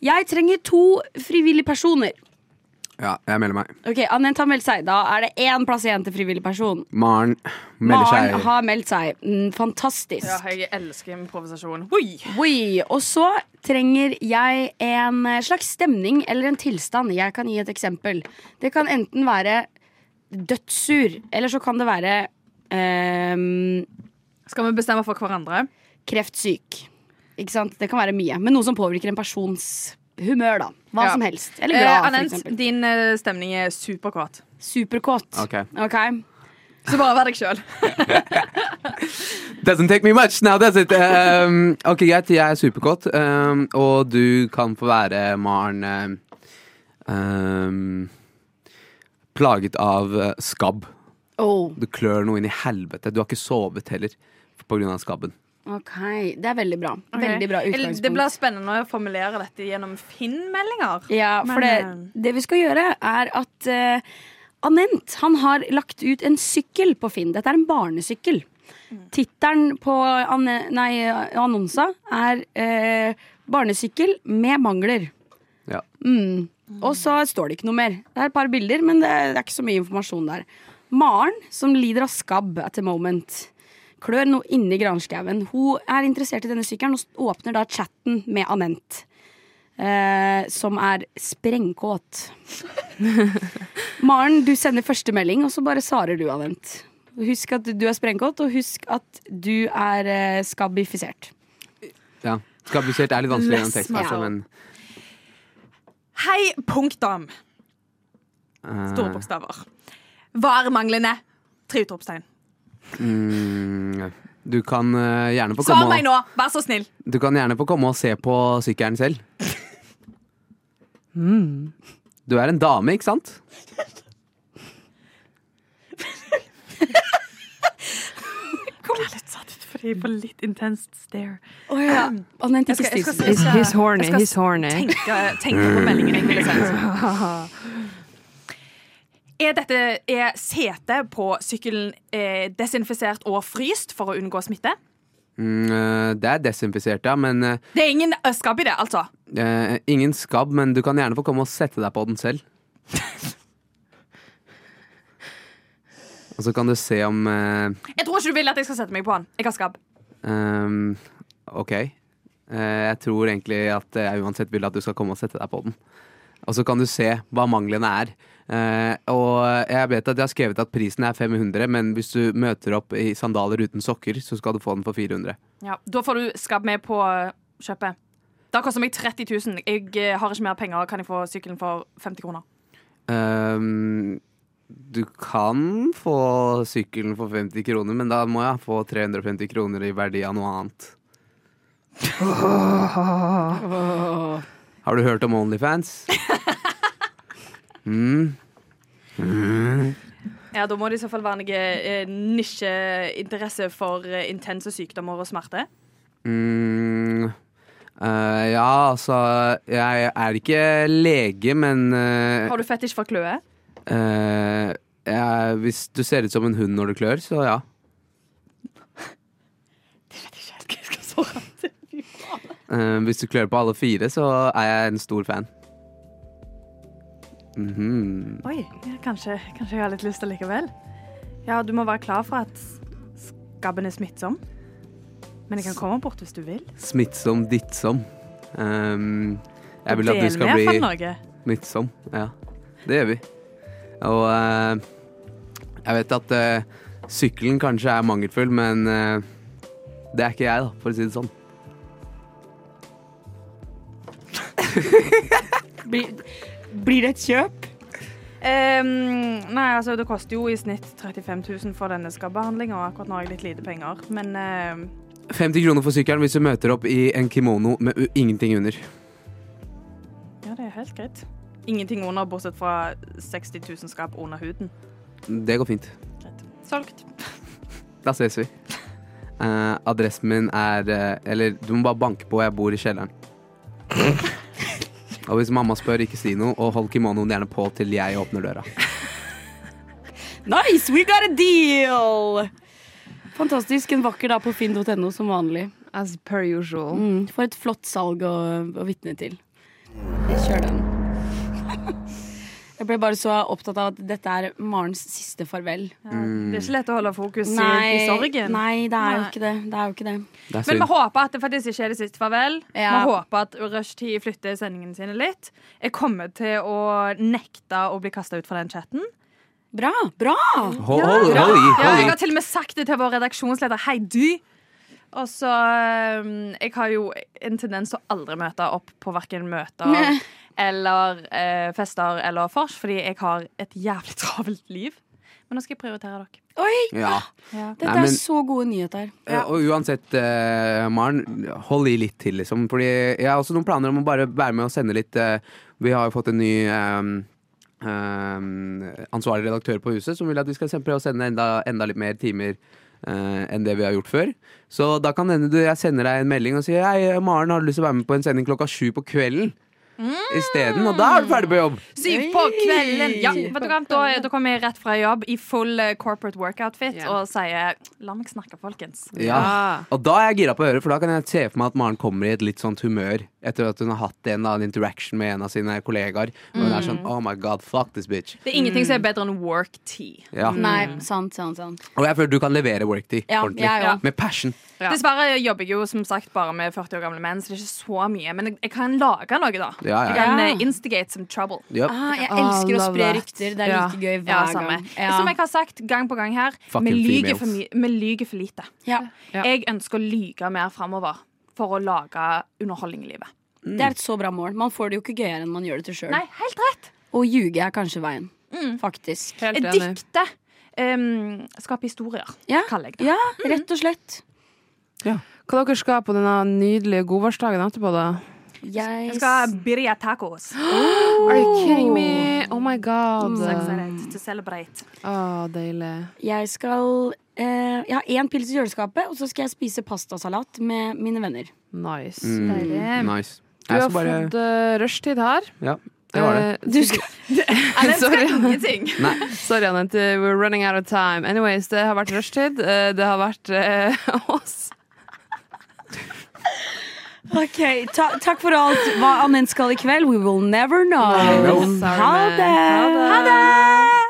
B: Jeg trenger to frivillige personer.
C: Ja, jeg melder meg.
B: Ok, Anent har meldt seg. Da er det én plass igjen til frivillig person.
C: Maren melder
B: Maren
C: seg.
B: har meldt seg. Mm, Fantastisk.
E: Ja, jeg elsker improvisasjon. Oi.
B: Oi, og så trenger jeg en slags stemning eller en tilstand. Jeg kan gi et eksempel. Det kan enten være dødssur, eller så kan det være ehm,
E: Skal vi bestemme for hverandre?
B: kreftsyk. Ikke sant? Det kan være mye. Men noe som påvirker en persons humør, da. Hva
E: Ja.
B: som helst. Eller
E: Eh,
B: glad, for
E: Anent,
B: eksempel.
E: din eh, stemning er superkåt.
B: Superkåt.
C: Ok.
B: Ok.
E: Så bare vær deg sjøl.
C: Doesn't take me much, now does it? Um, ok, greit, jeg er superkåt, um, og du kan få være, Maren um, um, Plaget av uh, skabb.
B: Oh.
C: Du klør noe inn i helvete. Du har ikke sovet heller på grunn av skabben.
B: Ok, Det er veldig bra. Veldig bra utgangspunkt.
E: Det blir spennende å formulere dette gjennom Finn-meldinger.
B: Ja, for det, det vi skal gjøre er at eh, Anent han har lagt ut en sykkel på Finn. Dette er en barnesykkel. Tittelen på anne- nei, annonsa er eh, 'Barnesykkel med mangler'.
C: Ja.
B: Mm. Og så står det ikke noe mer. Det er et par bilder, men det er, det er ikke så mye informasjon der. Maren, som lider av skabb at the moment, klør noe inni granskauen. Hun er interessert i denne sykkelen og s- åpner da chatten med Anent. Eh, som er sprengkåt. Maren, du sender første melding, og så bare svarer du, Anent. Husk at du er sprengkåt, og husk at du er eh, skabbifisert.
C: Ja. Skabbisert er litt vanskelig gjennom tekst,
E: Lesma.
C: altså, men
E: Hei, punktum.
C: uh,
E: Store bokstaver. Varemanglende. Tre utropstegn.
C: mm, Du kan uh, gjerne få
E: Svar
C: komme
E: meg
C: og,
E: nå, vær så snill.
C: Du kan gjerne få komme og se på sykkelen selv.
E: Mm.
C: Du er en dame, ikke sant?
E: Kom. Jeg ble litt satt ut fordi jeg får litt intenst stare.
B: Anent, ikke
E: Jeg skal- jeg
B: stiv
E: skal
B: som
E: si-
D: He's, he's horny.
E: Jeg skal
D: He's horny.
E: Tenke, tenke på meldingen jeg ville sendt. Er dette er setet på sykkelen eh, desinfisert og fryst for å unngå smitte?
C: Mm, uh, det er desinfisert, ja, men uh,
E: Det er ingen eh, skabb i det, altså.
C: Eh, ingen skabb, men du kan gjerne få komme og sette deg på den selv. og så kan du se om eh,
E: Jeg tror ikke du vil at jeg skal sette meg på den. Jeg har skabb.
C: ehm, OK. Eh, jeg tror egentlig at jeg uansett vil at du skal komme og sette deg på den. Og så kan du se hva manglene er. Eh, og jeg vet at jeg har skrevet at prisen er 500, men hvis du møter opp i sandaler uten sokker, så skal du få den for 400.
E: Ja, da får du skabb med på eh, kjøpet. Det har kostet meg 30 000. Jeg eh, har ikke mer penger. Kan jeg få sykkelen for 50 kroner?
C: Ehm, du kan få sykkelen for 50 kroner, men da må jeg få 350 kroner i verdi av noe annet. Har du hørt om Onlyfans? Mm.
E: Ja, Da må det i så fall være noe eh, nisjeinteresse for eh, intense sykdommer og smerte.
C: Mm. Eh, ja, altså Jeg er ikke lege, men eh,
E: Har du fetisj for kløe?
C: eh, jeg, Hvis du ser ut som en hund når du klør, så ja. Eh, hvis du klør på alle fire, så er jeg en stor fan. Mhm.
E: Oi, ja, kanskje, kanskje jeg har litt lyst allikevel. Ja, du må være klar for at s- skabben er smittsom. Men jeg kan komme bort hvis du vil.
C: Smittsom, dittsom. Ehm, jeg vil at du
E: Og del med
C: skal bli
E: iallfall noe.
C: smittsom. Ja, det gjør vi. Og eh, jeg vet at eh, sykkelen kanskje er mangelfull, men eh, det er ikke jeg, da, for å si det sånn.
B: Blir, blir det et kjøp?
E: Ehm, nei, altså, det koster jo i snitt 35 000 for denne skabbehandlinga, og akkurat nå har jeg litt lite penger. Men ehm,
C: 50 kroner for sykkelen hvis du møter opp i en kimono med u- ingenting under.
E: ja, det er helt greit. Ingenting under, bortsett fra 60 000 skabb under huden.
C: Det går fint.
E: Greit. Solgt.
C: Da ses vi. Eh, adressen min er eh, Eller du må bare banke på, jeg bor i kjelleren. og hvis mamma spør, ikke si noe, og hold kimonoen gjerne på til jeg åpner døra.
B: Nice, we got a deal! Fantastisk. En vakker dag på finn.no som vanlig.
D: As per usual.
B: Mm, for et flott salg å, å vitne til. Kjør den. Jeg ble bare så opptatt av at dette er Marens siste farvel.
E: Ja, det er ikke lett å holde fokus i, i
B: Nei,
E: sorgen.
B: nei, det er jo
E: Nei.
B: ikke det. det, er jo ikke det.
C: Det er
E: Men vi
C: synd.
E: håper at det faktisk ikke er det siste farvel.
B: Ja.
E: Vi håper at Rushtid flytter sendingene sine litt. Jeg kommer til å nekte å bli kasta ut fra den chatten.
B: Bra! bra
C: Hold, hold, hold i.
E: Ja, jeg
C: Hold i.
E: har til og med sagt det til vår redaksjonsleder, Heidi. Og så um, Jeg har jo en tendens til å aldri møte opp på verken møter
B: Nei.
E: eller eh, fester eller vors, fordi jeg har et jævlig travelt liv. Men nå skal jeg prioritere dere.
C: Ja.
B: Dette
C: Nei, men-
B: er så gode nyheter.
C: Eh, Og uansett, eh, Maren, hold i litt til, liksom. Fordi jeg har også noen planer om å bare være med og sende litt eh, Vi har jo fått en ny eh, eh, ansvarlig redaktør på huset som vil at vi skal prøve å sende enda, enda litt mer timer. eh, enn det vi har gjort før. Så da kan det hende du, jeg sender deg en melding og sier Hei, Maren, har du lyst til å være med på en sending klokka sju på kvelden isteden? Og da er du ferdig på jobb!
E: Syv på kvelden! Ja, vet du hva? Da, da kommer jeg rett fra jobb i full eh, corporate workout-fit
D: Ja.
E: og sier 'la meg snakke, folkens'.
C: Ja. Og da er jeg gira på å høre, for da kan jeg se for meg at Maren kommer i et litt sånt humør etter at hun har hatt en, da, en interaction med en av sine kollegaer. Og hun er sånn Oh my god, fuck this bitch.
E: Det er ingenting som er bedre enn work tea.
C: Ja.
B: Nei, sant, sant, sant.
C: Og jeg føler du kan levere worktid
B: Ja,
C: ordentlig.
B: jeg òg.
C: Med passion.
E: Dessverre jobber jeg jo som sagt bare med 40 år gamle menn, så det er ikke så mye. Men jeg, jeg kan lage noe, da.
C: Ja,
E: Jeg
C: ja.
E: kan
B: Ja.
E: eh, instigate some trouble.
C: Yep.
B: Ah, jeg
D: Ah,
B: elsker å
D: love
B: spre
D: that.
B: rykter. Det er
D: Ja.
B: like gøy hver
E: Ja, samme.
B: gang. Ja.
E: Som jeg har sagt gang på gang her, vi
C: Fucking
E: lyger, for
C: females.
E: mye- vi lyger for lite.
B: ja.
D: Ja.
E: Jeg ønsker å lyge mer framover for å lage underholdning i livet.
B: Det er et så bra mål. Man får det jo ikke gøyere enn man gjør det til sjøl.
E: Nei, helt rett!
B: Å ljuge er kanskje veien. Faktisk.
D: Helt enig.
E: Dikte. Um, skape historier,
B: Ja.
E: kaller jeg det.
B: ja, rett og slett.
D: Hva dere skal på denne nydelige godværsdagen etterpå, da?
B: Jeg
E: Jeg skal birria tacos.
D: Are you kidding me? Oh my god.
E: Så excited to celebrate.
D: Å, deilig.
B: Jeg skal eh, Jeg har én pils i kjøleskapet, og så skal jeg spise pastasalat med mine venner.
D: Nice.
C: Mm, nice.
D: Du
C: Jeg
D: har
C: skal bare
D: fått uh, rushtid her.
C: Ja, det var det.
D: Eh,
B: Du skal-
E: Ellen skal
D: Sorry.
E: ingenting.
D: Sorry, Anette. We're running out of time. Anyways, det har vært rushtid. Eh, Det har vært eh, oss.
B: Ok, ta, Takk for alt. Hva Anette skal i kveld, we will never know.
D: Sorry, man. Ha det!
B: Ha det!